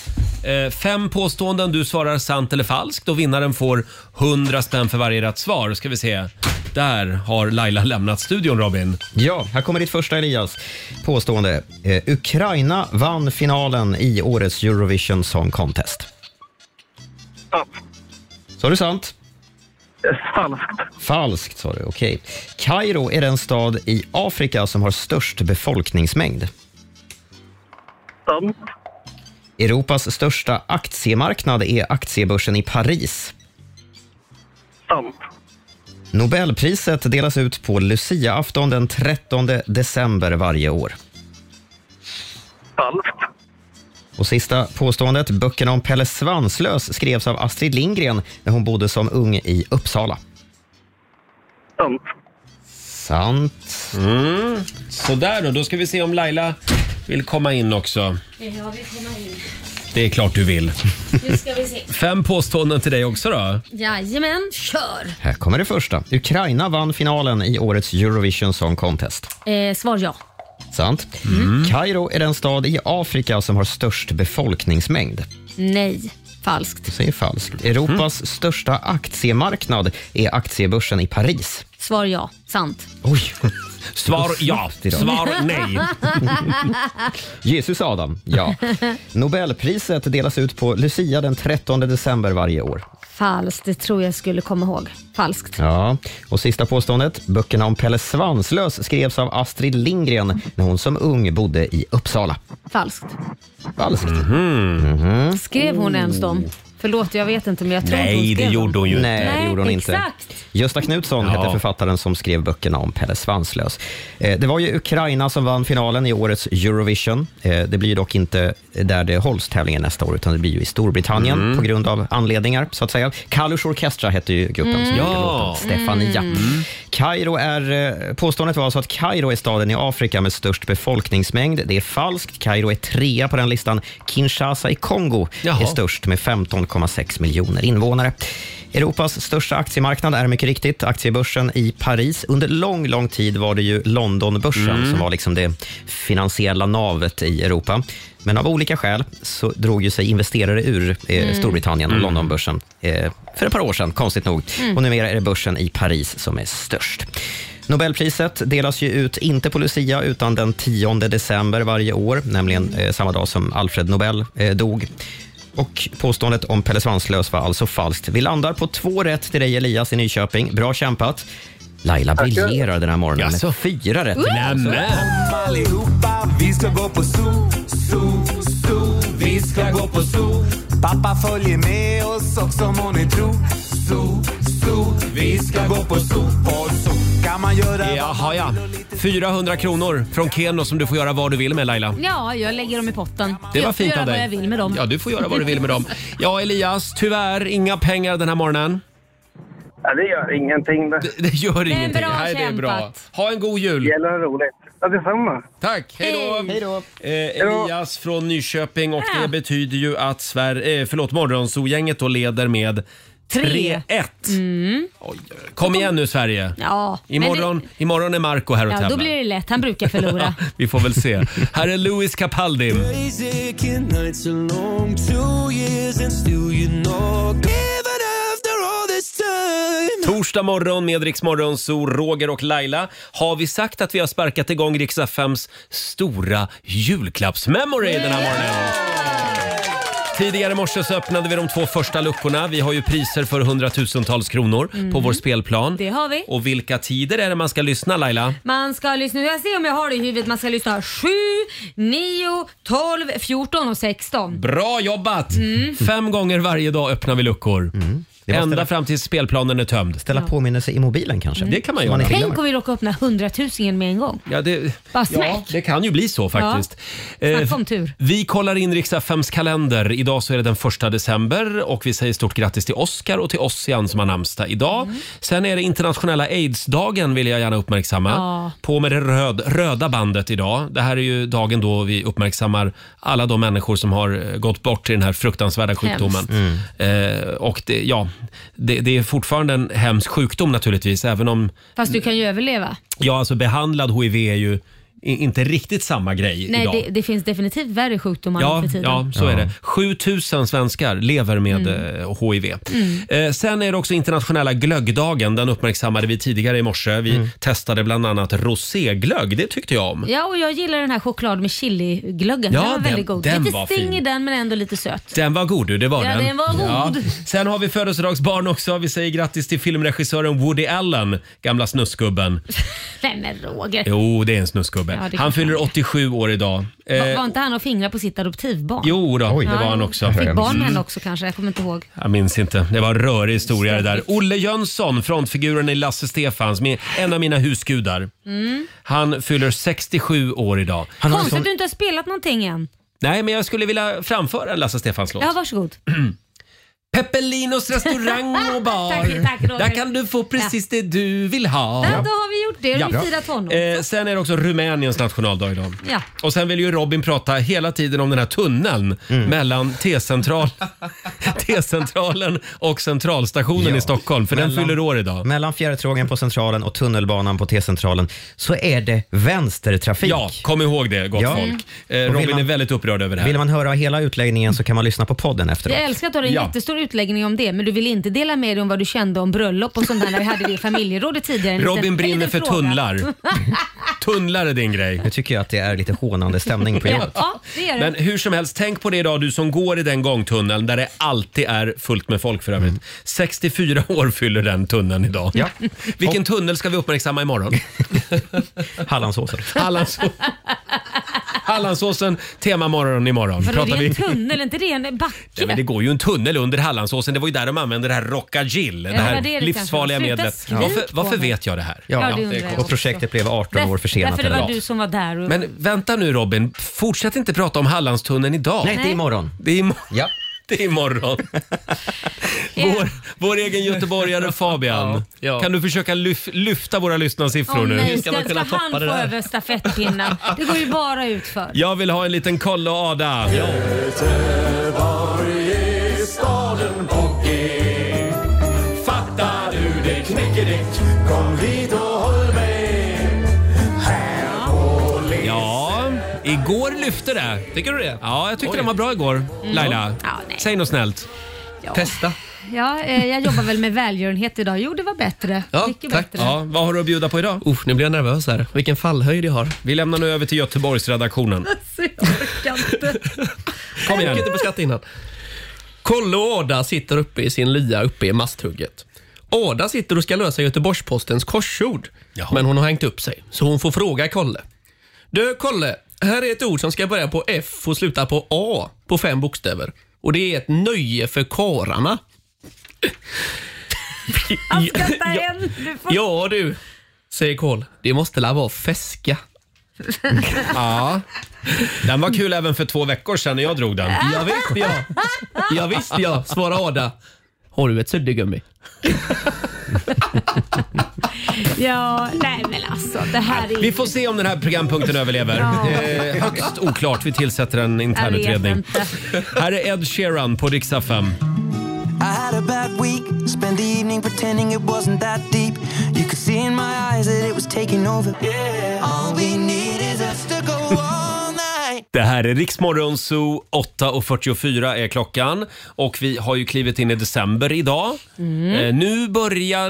[SPEAKER 1] Eh, Fem påståenden, du svarar sant eller falskt och vinnaren får 100 spänn för varje rätt svar. Ska vi se. Där har Laila lämnat studion, Robin.
[SPEAKER 5] Ja, här kommer ditt första Elias påstående. Eh, Ukraina vann finalen i årets Eurovision Song Contest. Sant. Sa du sant? Falskt. Falskt sa du, okej. Kairo är den stad i Afrika som har störst befolkningsmängd. Sant. Europas största aktiemarknad är aktiebörsen i Paris.
[SPEAKER 11] Sant.
[SPEAKER 5] Nobelpriset delas ut på Luciaafton den 13 december varje år.
[SPEAKER 11] Falskt.
[SPEAKER 5] Och sista påståendet. Böckerna om Pelle Svanslös skrevs av Astrid Lindgren när hon bodde som ung i Uppsala.
[SPEAKER 1] Sant.
[SPEAKER 5] Sant.
[SPEAKER 1] Mm. Sådär då, då ska vi se om Laila vill komma in också.
[SPEAKER 8] Ja, vi kommer in.
[SPEAKER 1] Det är klart du vill.
[SPEAKER 8] Nu ska vi se.
[SPEAKER 1] Fem påståenden till dig också då.
[SPEAKER 8] Jajamän, kör!
[SPEAKER 5] Här kommer det första. Ukraina vann finalen i årets Eurovision Song Contest.
[SPEAKER 8] Eh, svar ja.
[SPEAKER 5] Sant.
[SPEAKER 1] Mm.
[SPEAKER 5] Kairo är den stad i Afrika som har störst befolkningsmängd.
[SPEAKER 8] Nej, falskt.
[SPEAKER 5] Du säger falskt. Europas
[SPEAKER 1] Mm.
[SPEAKER 5] största aktiemarknad är aktiebörsen i Paris.
[SPEAKER 8] Svar ja, sant.
[SPEAKER 5] Oj.
[SPEAKER 1] Svar ja, svar
[SPEAKER 5] Jesus Adam, ja. Nobelpriset delas ut på Lucia den 13 december varje år.
[SPEAKER 8] falskt, det tror jag skulle komma ihåg. Falskt.
[SPEAKER 5] Ja, och sista påståendet. Böckerna om Pelle Svanslös skrevs av Astrid Lindgren när hon som ung bodde i Uppsala.
[SPEAKER 8] Falskt.
[SPEAKER 5] Falskt. Mhm.
[SPEAKER 8] Skrev hon ens dem? Förlåt, jag vet inte men jag tror inte hon skrev dem.
[SPEAKER 5] Nej, det gjorde hon
[SPEAKER 8] exakt.
[SPEAKER 5] inte. Gösta Knutsson hette författaren som skrev böckerna om Pelle Svanslös. Eh, Det var ju Ukraina som vann finalen i årets Eurovision. Eh, Det blir dock inte där det hålls tävlingen nästa år, utan det blir ju i Storbritannien
[SPEAKER 1] Mm.
[SPEAKER 5] på grund av anledningar, så att säga. Kalush Orkestra hette ju gruppen som
[SPEAKER 1] Mm.
[SPEAKER 5] gjorde
[SPEAKER 1] Ja.
[SPEAKER 5] låten Stefania.
[SPEAKER 1] Mm.
[SPEAKER 5] Kairo är, eh, påståendet var alltså att Kairo är staden i Afrika med störst befolkningsmängd. Det är falskt. Kairo är trea på den listan. Kinshasa i Kongo är störst med 15,6 miljoner invånare. Europas största aktiemarknad är mycket riktigt aktiebörsen i Paris. Under lång, lång tid var det ju Londonbörsen
[SPEAKER 1] Mm.
[SPEAKER 5] som var liksom det finansiella navet i Europa. Men av olika skäl så drog ju sig investerare ur eh,
[SPEAKER 1] Mm.
[SPEAKER 5] Storbritannien och
[SPEAKER 1] Mm.
[SPEAKER 5] Londonbörsen eh, för ett par år sedan, konstigt nog.
[SPEAKER 1] Mm.
[SPEAKER 5] Och numera är det börsen i Paris som är störst. Nobelpriset delas ju ut, inte på Lucia, utan den 10 december varje år, nämligen eh, samma dag som Alfred Nobel eh, dog. Och påståendet om Pelle Svanslös var alltså falskt. Vi landar på två rätt till dig Elias i Nyköping. Bra kämpat. Laila briljerar den här morgonen
[SPEAKER 1] Jaså?
[SPEAKER 5] med fyra rätt.
[SPEAKER 12] Mm.
[SPEAKER 5] Alltså,
[SPEAKER 12] Alltså, Kom allihopa, vi ska gå på zoo, zoo, zoo. Vi ska gå på zoo. Pappa följer med oss också må ni tro. Zoo, zoo. Vi ska gå på zoo, på zoo. Kan man göra
[SPEAKER 1] Jaha ja. 400 kronor från Keno som du får göra vad du vill med Laila.
[SPEAKER 8] Ja, jag lägger dem i potten.
[SPEAKER 1] Det var
[SPEAKER 8] jag får
[SPEAKER 1] fint
[SPEAKER 8] göra
[SPEAKER 1] av dig.
[SPEAKER 8] vad jag vill med dem.
[SPEAKER 1] Ja, du får göra vad du vill med dem. Ja, Elias, tyvärr inga pengar den här morgonen.
[SPEAKER 11] Ja, det gör ingenting. Det,
[SPEAKER 1] det gör
[SPEAKER 11] Men
[SPEAKER 1] ingenting.
[SPEAKER 11] bra
[SPEAKER 1] Nej, det är bra.
[SPEAKER 11] kämpat.
[SPEAKER 1] Ha en god jul.
[SPEAKER 11] Det gäller roligt. Ja, detsamma.
[SPEAKER 1] Tack, hej då. Eh, Elias från Nyköping och det betyder ju att Sver- eh, förlåt, Morgonzoo-gänget då leder med 3-1.
[SPEAKER 8] Mm.
[SPEAKER 1] Kom igen nu Sverige.
[SPEAKER 8] Ja, men
[SPEAKER 1] Imorgon, imorgon är Marco här och
[SPEAKER 8] Ja, då
[SPEAKER 1] tävlar.
[SPEAKER 8] blir det lätt. Han brukar förlora.
[SPEAKER 1] Vi får väl se. Här är Louis Capaldi. Torsdag morgon med Rix Morgon, så Roger och Laila. Har vi sagt att vi har sparkat igång Rix FMs stora julklappsmemory den här morgonen? Tidigare i morse så öppnade vi de två första luckorna. Vi har ju priser för hundratusentals kronor på
[SPEAKER 8] Mm.
[SPEAKER 1] vår spelplan.
[SPEAKER 8] Det har vi.
[SPEAKER 1] Och vilka tider är det man ska lyssna Laila?
[SPEAKER 8] Man ska lyssna, jag ser om jag har det i huvudet, man ska lyssna 7, 9, 12, 14 och 16.
[SPEAKER 1] Bra jobbat!
[SPEAKER 8] Mm.
[SPEAKER 1] Fem gånger varje dag öppnar vi luckor.
[SPEAKER 5] Mm. Det
[SPEAKER 1] Ända fram tills spelplanen är tömd. Mm.
[SPEAKER 5] Ställa påminnelse i mobilen kanske?
[SPEAKER 1] Det kan man
[SPEAKER 5] Så
[SPEAKER 1] göra.
[SPEAKER 5] man inte
[SPEAKER 2] Tänk om vi råkar öppna hundratusingen med en gång.
[SPEAKER 1] Ja, det,
[SPEAKER 2] Bara
[SPEAKER 1] ja,
[SPEAKER 2] smäck.
[SPEAKER 1] det kan ju bli så faktiskt.
[SPEAKER 2] Ja. Snacka
[SPEAKER 1] Eh,
[SPEAKER 2] om tur.
[SPEAKER 1] Vi kollar in riks kalender. Idag så är det den första december och vi säger stort grattis till Oscar och till Ossian som har namnsdag idag.
[SPEAKER 2] Mm.
[SPEAKER 1] Sen är det internationella aidsdagen vill jag gärna uppmärksamma.
[SPEAKER 2] Ja.
[SPEAKER 1] På med det röd, röda bandet idag. Det här är ju dagen då vi uppmärksammar alla de människor som har eh, gått bort i den här fruktansvärda sjukdomen. Eh, och det, ja, det, det är fortfarande en hemsk sjukdom naturligtvis, även om
[SPEAKER 2] Fast du kan ju överleva.
[SPEAKER 1] Ja, alltså behandlad HIV är ju i- inte riktigt samma grej
[SPEAKER 2] Nej,
[SPEAKER 1] idag.
[SPEAKER 2] det, det finns definitivt värre sjukdomar
[SPEAKER 1] Ja,
[SPEAKER 2] nu för tiden.
[SPEAKER 1] ja, så är det. 7000 svenskar lever med
[SPEAKER 2] Mm.
[SPEAKER 1] eh, HIV. Eh, sen är det också internationella glöggdagen. Den uppmärksammade vi tidigare i morse. Vi testade bland annat roséglögg. Det tyckte jag om.
[SPEAKER 2] Ja, och jag gillar den här choklad med chiliglöggen.
[SPEAKER 1] Ja,
[SPEAKER 2] den var
[SPEAKER 1] den-
[SPEAKER 2] väldigt god.
[SPEAKER 1] den
[SPEAKER 2] lite
[SPEAKER 1] var
[SPEAKER 2] sting
[SPEAKER 1] fin.
[SPEAKER 2] i den men ändå lite söt.
[SPEAKER 1] Den var god du, det var
[SPEAKER 2] Ja,
[SPEAKER 1] den.
[SPEAKER 2] den var god.
[SPEAKER 1] Sen har vi födelsedagsbarn också. Vi säger grattis till filmregissören Woody Allen, gamla snuskgubben.
[SPEAKER 2] Nej men Roger.
[SPEAKER 1] Jo, det är en snuskgubbe.
[SPEAKER 2] Ja, det kan
[SPEAKER 1] han fyller 87 år idag.
[SPEAKER 2] Var,
[SPEAKER 1] Eh,
[SPEAKER 2] var inte han och fingrar på sitt adoptivbarn?
[SPEAKER 1] Jo då, det
[SPEAKER 2] Ja,
[SPEAKER 1] var han också.
[SPEAKER 2] Fick barn med
[SPEAKER 1] Mm.
[SPEAKER 2] henne också kanske, jag kommer inte ihåg.
[SPEAKER 1] Jag minns inte. Det var en rörig historia det där. Olle Jönsson, frontfiguren i Lasse Stefans, med en av mina husgudar.
[SPEAKER 2] Mm.
[SPEAKER 1] Han fyller 67 år idag. Han
[SPEAKER 2] Konstigt att du inte har spelat någonting än.
[SPEAKER 1] Nej, men jag skulle vilja framföra en Lasse Stefans-låt.
[SPEAKER 2] Ja, varsågod.
[SPEAKER 1] Peppelinos restaurang och bar.
[SPEAKER 2] tack, tack, Roger.
[SPEAKER 1] Där kan du få precis det du vill ha.
[SPEAKER 2] Där, då har vi gjort det. Då har
[SPEAKER 1] Ja.
[SPEAKER 2] vi firat honom.
[SPEAKER 1] Eh, sen är det också Rumäniens nationaldag idag.
[SPEAKER 2] Ja.
[SPEAKER 1] Och sen vill ju Robin prata hela tiden om den här tunneln mellan T-central, T-centralen och centralstationen i Stockholm. För den fyller år idag.
[SPEAKER 5] Mellan fjärrtågen på Centralen och tunnelbanan på T-centralen så är det vänstertrafik.
[SPEAKER 1] Ja, kom ihåg det gott
[SPEAKER 5] Ja.
[SPEAKER 1] folk. Eh,
[SPEAKER 5] Och vill
[SPEAKER 1] Robin
[SPEAKER 5] man-
[SPEAKER 1] är väldigt upprörd över det här.
[SPEAKER 5] Vill man höra hela utläggningen så kan man lyssna på podden efteråt.
[SPEAKER 2] Jag älskar att du har en
[SPEAKER 5] Ja.
[SPEAKER 2] jättestor utläggning om det, men du vill inte dela med dig om vad du kände om bröllop och sånt där när vi hade det i familjerådet tidigare. En
[SPEAKER 1] Robin
[SPEAKER 2] liten- en
[SPEAKER 1] brinner
[SPEAKER 2] liten
[SPEAKER 1] för
[SPEAKER 2] fråga.
[SPEAKER 1] tunnlar. Tunnlar är din grej.
[SPEAKER 5] Nu tycker jag att det är lite hånande stämning på jobbet.
[SPEAKER 2] Ja, det är det.
[SPEAKER 1] Men hur som helst, tänk på det idag du som går i den gångtunneln där det alltid är fullt med folk för övrigt. 64 år fyller den tunneln idag.
[SPEAKER 5] Mm. Ja.
[SPEAKER 1] Vilken tunnel ska vi uppmärksamma imorgon?
[SPEAKER 5] Hallandsåsen.
[SPEAKER 1] Hallandså- Hallandsåsen, temamorgon imorgon.
[SPEAKER 2] Vadå, det
[SPEAKER 1] Pratar
[SPEAKER 2] är en
[SPEAKER 1] vi.
[SPEAKER 2] tunnel, inte det en backe?
[SPEAKER 1] Nej, men det går ju en tunnel under Hallandsåsen. Det var ju där de använde det här Rockagill, det
[SPEAKER 2] Ja,
[SPEAKER 1] här
[SPEAKER 2] det är det
[SPEAKER 1] livsfarliga
[SPEAKER 2] kanske. Sluta
[SPEAKER 1] medlet.
[SPEAKER 2] skrik
[SPEAKER 1] Varför,
[SPEAKER 2] på
[SPEAKER 1] varför
[SPEAKER 2] mig.
[SPEAKER 1] vet jag det här?
[SPEAKER 2] Ja, det undrar jag
[SPEAKER 5] och projektet blev 18 år försenat.
[SPEAKER 2] Därför det
[SPEAKER 1] eller
[SPEAKER 2] var
[SPEAKER 1] något.
[SPEAKER 2] du som var där. Och...
[SPEAKER 1] Men vänta nu Robin, fortsätt inte prata om Hallandstunneln idag.
[SPEAKER 5] Nej, det är imorgon.
[SPEAKER 1] Det är imorgon.
[SPEAKER 5] Ja.
[SPEAKER 1] Det är imorgon. Vår, vår egen göteborgare Fabian. Kan du försöka lyf, lyfta våra lyssnarsiffror
[SPEAKER 2] Åh,
[SPEAKER 1] nu?
[SPEAKER 2] nej, ska, ska han få över stafettpinnen? Det går ju bara ut för.
[SPEAKER 1] Jag vill ha en liten kolla Ada.
[SPEAKER 12] Göteborg är staden på G Fattar du det knickedick? Kom hit och håll med Här på Lins-
[SPEAKER 1] Ja, igår lyfte det.
[SPEAKER 9] Tycker du det?
[SPEAKER 1] Ja, jag tyckte den var bra igår. Laila,
[SPEAKER 2] Mm. Ja, nej.
[SPEAKER 1] säg något snällt.
[SPEAKER 9] Testa.
[SPEAKER 2] Ja, eh, jag jobbar väl med välgörenhet idag. Jo, det var bättre.
[SPEAKER 9] Ja,
[SPEAKER 2] Mycket
[SPEAKER 9] tack.
[SPEAKER 2] bättre.
[SPEAKER 1] Ja, vad har du att bjuda på idag?
[SPEAKER 9] Uff, nu blir jag nervös här. Vilken fallhöjd jag har.
[SPEAKER 1] Vi lämnar nu över till Göteborgsredaktionen.
[SPEAKER 2] Så Alltså, jag orkar inte.
[SPEAKER 1] Kom igen.
[SPEAKER 9] Jag inte på skratt innan. Kolle och Ada sitter uppe i sin lya uppe i masthugget. Ada sitter och ska lösa Göteborgs-Postens korsord. Men hon har hängt upp sig, så hon får fråga Kolle. Du Kolle, här är ett ord som ska börja på F och sluta på A på fem bokstäver. Och det är ett nöje för kararna.
[SPEAKER 2] Han skrattar än. Du får...
[SPEAKER 9] Ja du, säger Kolle. Det måste la vara feska.
[SPEAKER 1] Ja. Den var kul även för två veckor sedan när jag drog den.
[SPEAKER 9] Ja, visst ja. Ja, visst ja, svarar Ada. Har du ett suddgummi?
[SPEAKER 2] Ja, nej men alltså det här är...
[SPEAKER 1] Vi får se om den här programpunkten överlever.
[SPEAKER 2] Ja.
[SPEAKER 1] Eh, högst oklart. Vi tillsätter en
[SPEAKER 2] Jag vet
[SPEAKER 1] internutredning.
[SPEAKER 2] inte.
[SPEAKER 1] Här är Ed Sheeran på Dixa 5.
[SPEAKER 12] I had a bad week Spent the evening pretending it wasn't that deep You could see in my eyes that it was taking over yeah. All we need is us to go all night
[SPEAKER 1] Det här är Riksmorgon Zoo. 8.44 är klockan. Och vi har ju klivit in i december idag.
[SPEAKER 2] Mm.
[SPEAKER 1] Eh, nu börjar...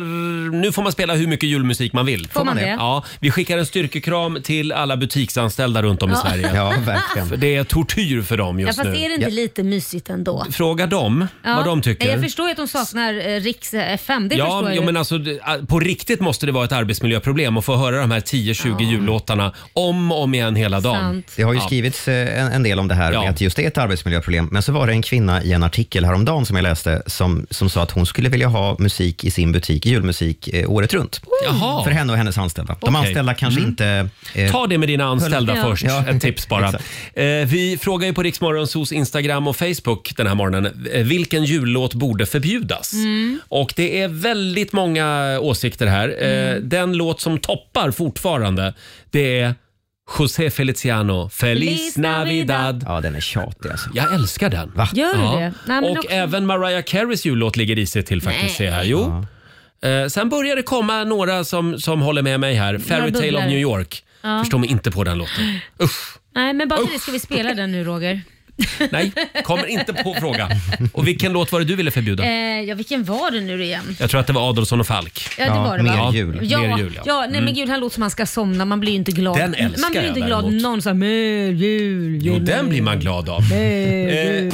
[SPEAKER 1] Nu får man spela hur mycket julmusik man vill.
[SPEAKER 2] Får man det?
[SPEAKER 1] Ja, vi skickar en styrkekram till alla butiksanställda runt om i
[SPEAKER 2] Ja.
[SPEAKER 1] Sverige.
[SPEAKER 5] Ja, verkligen.
[SPEAKER 1] För Det är tortyr för dem
[SPEAKER 2] Ja,
[SPEAKER 1] just
[SPEAKER 2] fast
[SPEAKER 1] nu.
[SPEAKER 2] är det inte lite mysigt ändå?
[SPEAKER 1] Fråga dem
[SPEAKER 2] Ja.
[SPEAKER 1] vad de tycker.
[SPEAKER 2] Jag förstår ju att de saknar eh, Riks FM. Det förstår
[SPEAKER 1] Ja,
[SPEAKER 2] jag
[SPEAKER 1] jo,
[SPEAKER 2] ju.
[SPEAKER 1] men alltså, det- a- på riktigt måste det vara ett arbetsmiljöproblem att få höra de här 10-20 jullåtarna om och om igen hela dagen.
[SPEAKER 2] Sant.
[SPEAKER 5] Det har ju
[SPEAKER 1] Ja.
[SPEAKER 5] skrivits eh, eh, en, en del om det här, med att just det är ett arbetsmiljöproblem. Men så var det en kvinna i en artikel häromdagen som jag läste, som, som sa att hon skulle vilja ha musik i sin butik, julmusik, eh, året runt.
[SPEAKER 1] Jaha.
[SPEAKER 5] För henne och hennes anställda. De
[SPEAKER 1] Okej.
[SPEAKER 5] anställda kanske
[SPEAKER 1] Mm.
[SPEAKER 5] inte...
[SPEAKER 1] Ta det med dina anställda
[SPEAKER 5] Ja.
[SPEAKER 1] först.
[SPEAKER 5] eh, Ja.
[SPEAKER 1] Ett tips bara.
[SPEAKER 5] Exakt.
[SPEAKER 1] Eh, vi frågar ju på Riksmorgonsos Instagram och Facebook den här morgonen eh, vilken jullåt borde förbjudas.
[SPEAKER 12] Mm.
[SPEAKER 1] Och det är väldigt många åsikter här. Eh,
[SPEAKER 2] Mm.
[SPEAKER 1] den låt som toppar fortfarande det är José Feliciano, Feliz
[SPEAKER 2] Feliz
[SPEAKER 1] Navidad.
[SPEAKER 5] Ja, den är tjatig alltså.
[SPEAKER 1] Jag älskar den.
[SPEAKER 2] Gör du
[SPEAKER 1] ja.
[SPEAKER 2] det? Nej, men
[SPEAKER 1] och
[SPEAKER 2] också-
[SPEAKER 1] även Mariah Careys jullåt ligger i sig till faktiskt.
[SPEAKER 2] Nej.
[SPEAKER 1] ser jag här. Jo. Eh, sen börjar det komma några som, som håller med mig här. Fairy Tale of
[SPEAKER 2] bubblare.
[SPEAKER 1] New York.
[SPEAKER 2] Ja.
[SPEAKER 1] Förstår mig inte på den låten. Usch,
[SPEAKER 2] Nej, men bara till det ska vi spela den nu Roger.
[SPEAKER 1] nej, kommer inte på fråga. Och vilken låt var det du ville förbjuda?
[SPEAKER 2] Eh, ja, vilken var det nu igen?
[SPEAKER 1] Jag tror att det var Adolfsson och Falk.
[SPEAKER 2] Ja, det var det va? Ja,
[SPEAKER 1] mer jul ja.
[SPEAKER 2] ja nej men
[SPEAKER 1] Mm.
[SPEAKER 2] gud, han låter som han ska somna. Man blir ju inte glad.
[SPEAKER 1] Den älskar
[SPEAKER 2] Man blir ju
[SPEAKER 1] jag
[SPEAKER 2] inte glad
[SPEAKER 1] däremot.
[SPEAKER 2] någon sa mer jul,
[SPEAKER 1] Jo,
[SPEAKER 2] jul,
[SPEAKER 1] den
[SPEAKER 2] mer
[SPEAKER 1] blir man glad av.
[SPEAKER 2] jul."
[SPEAKER 1] Eh,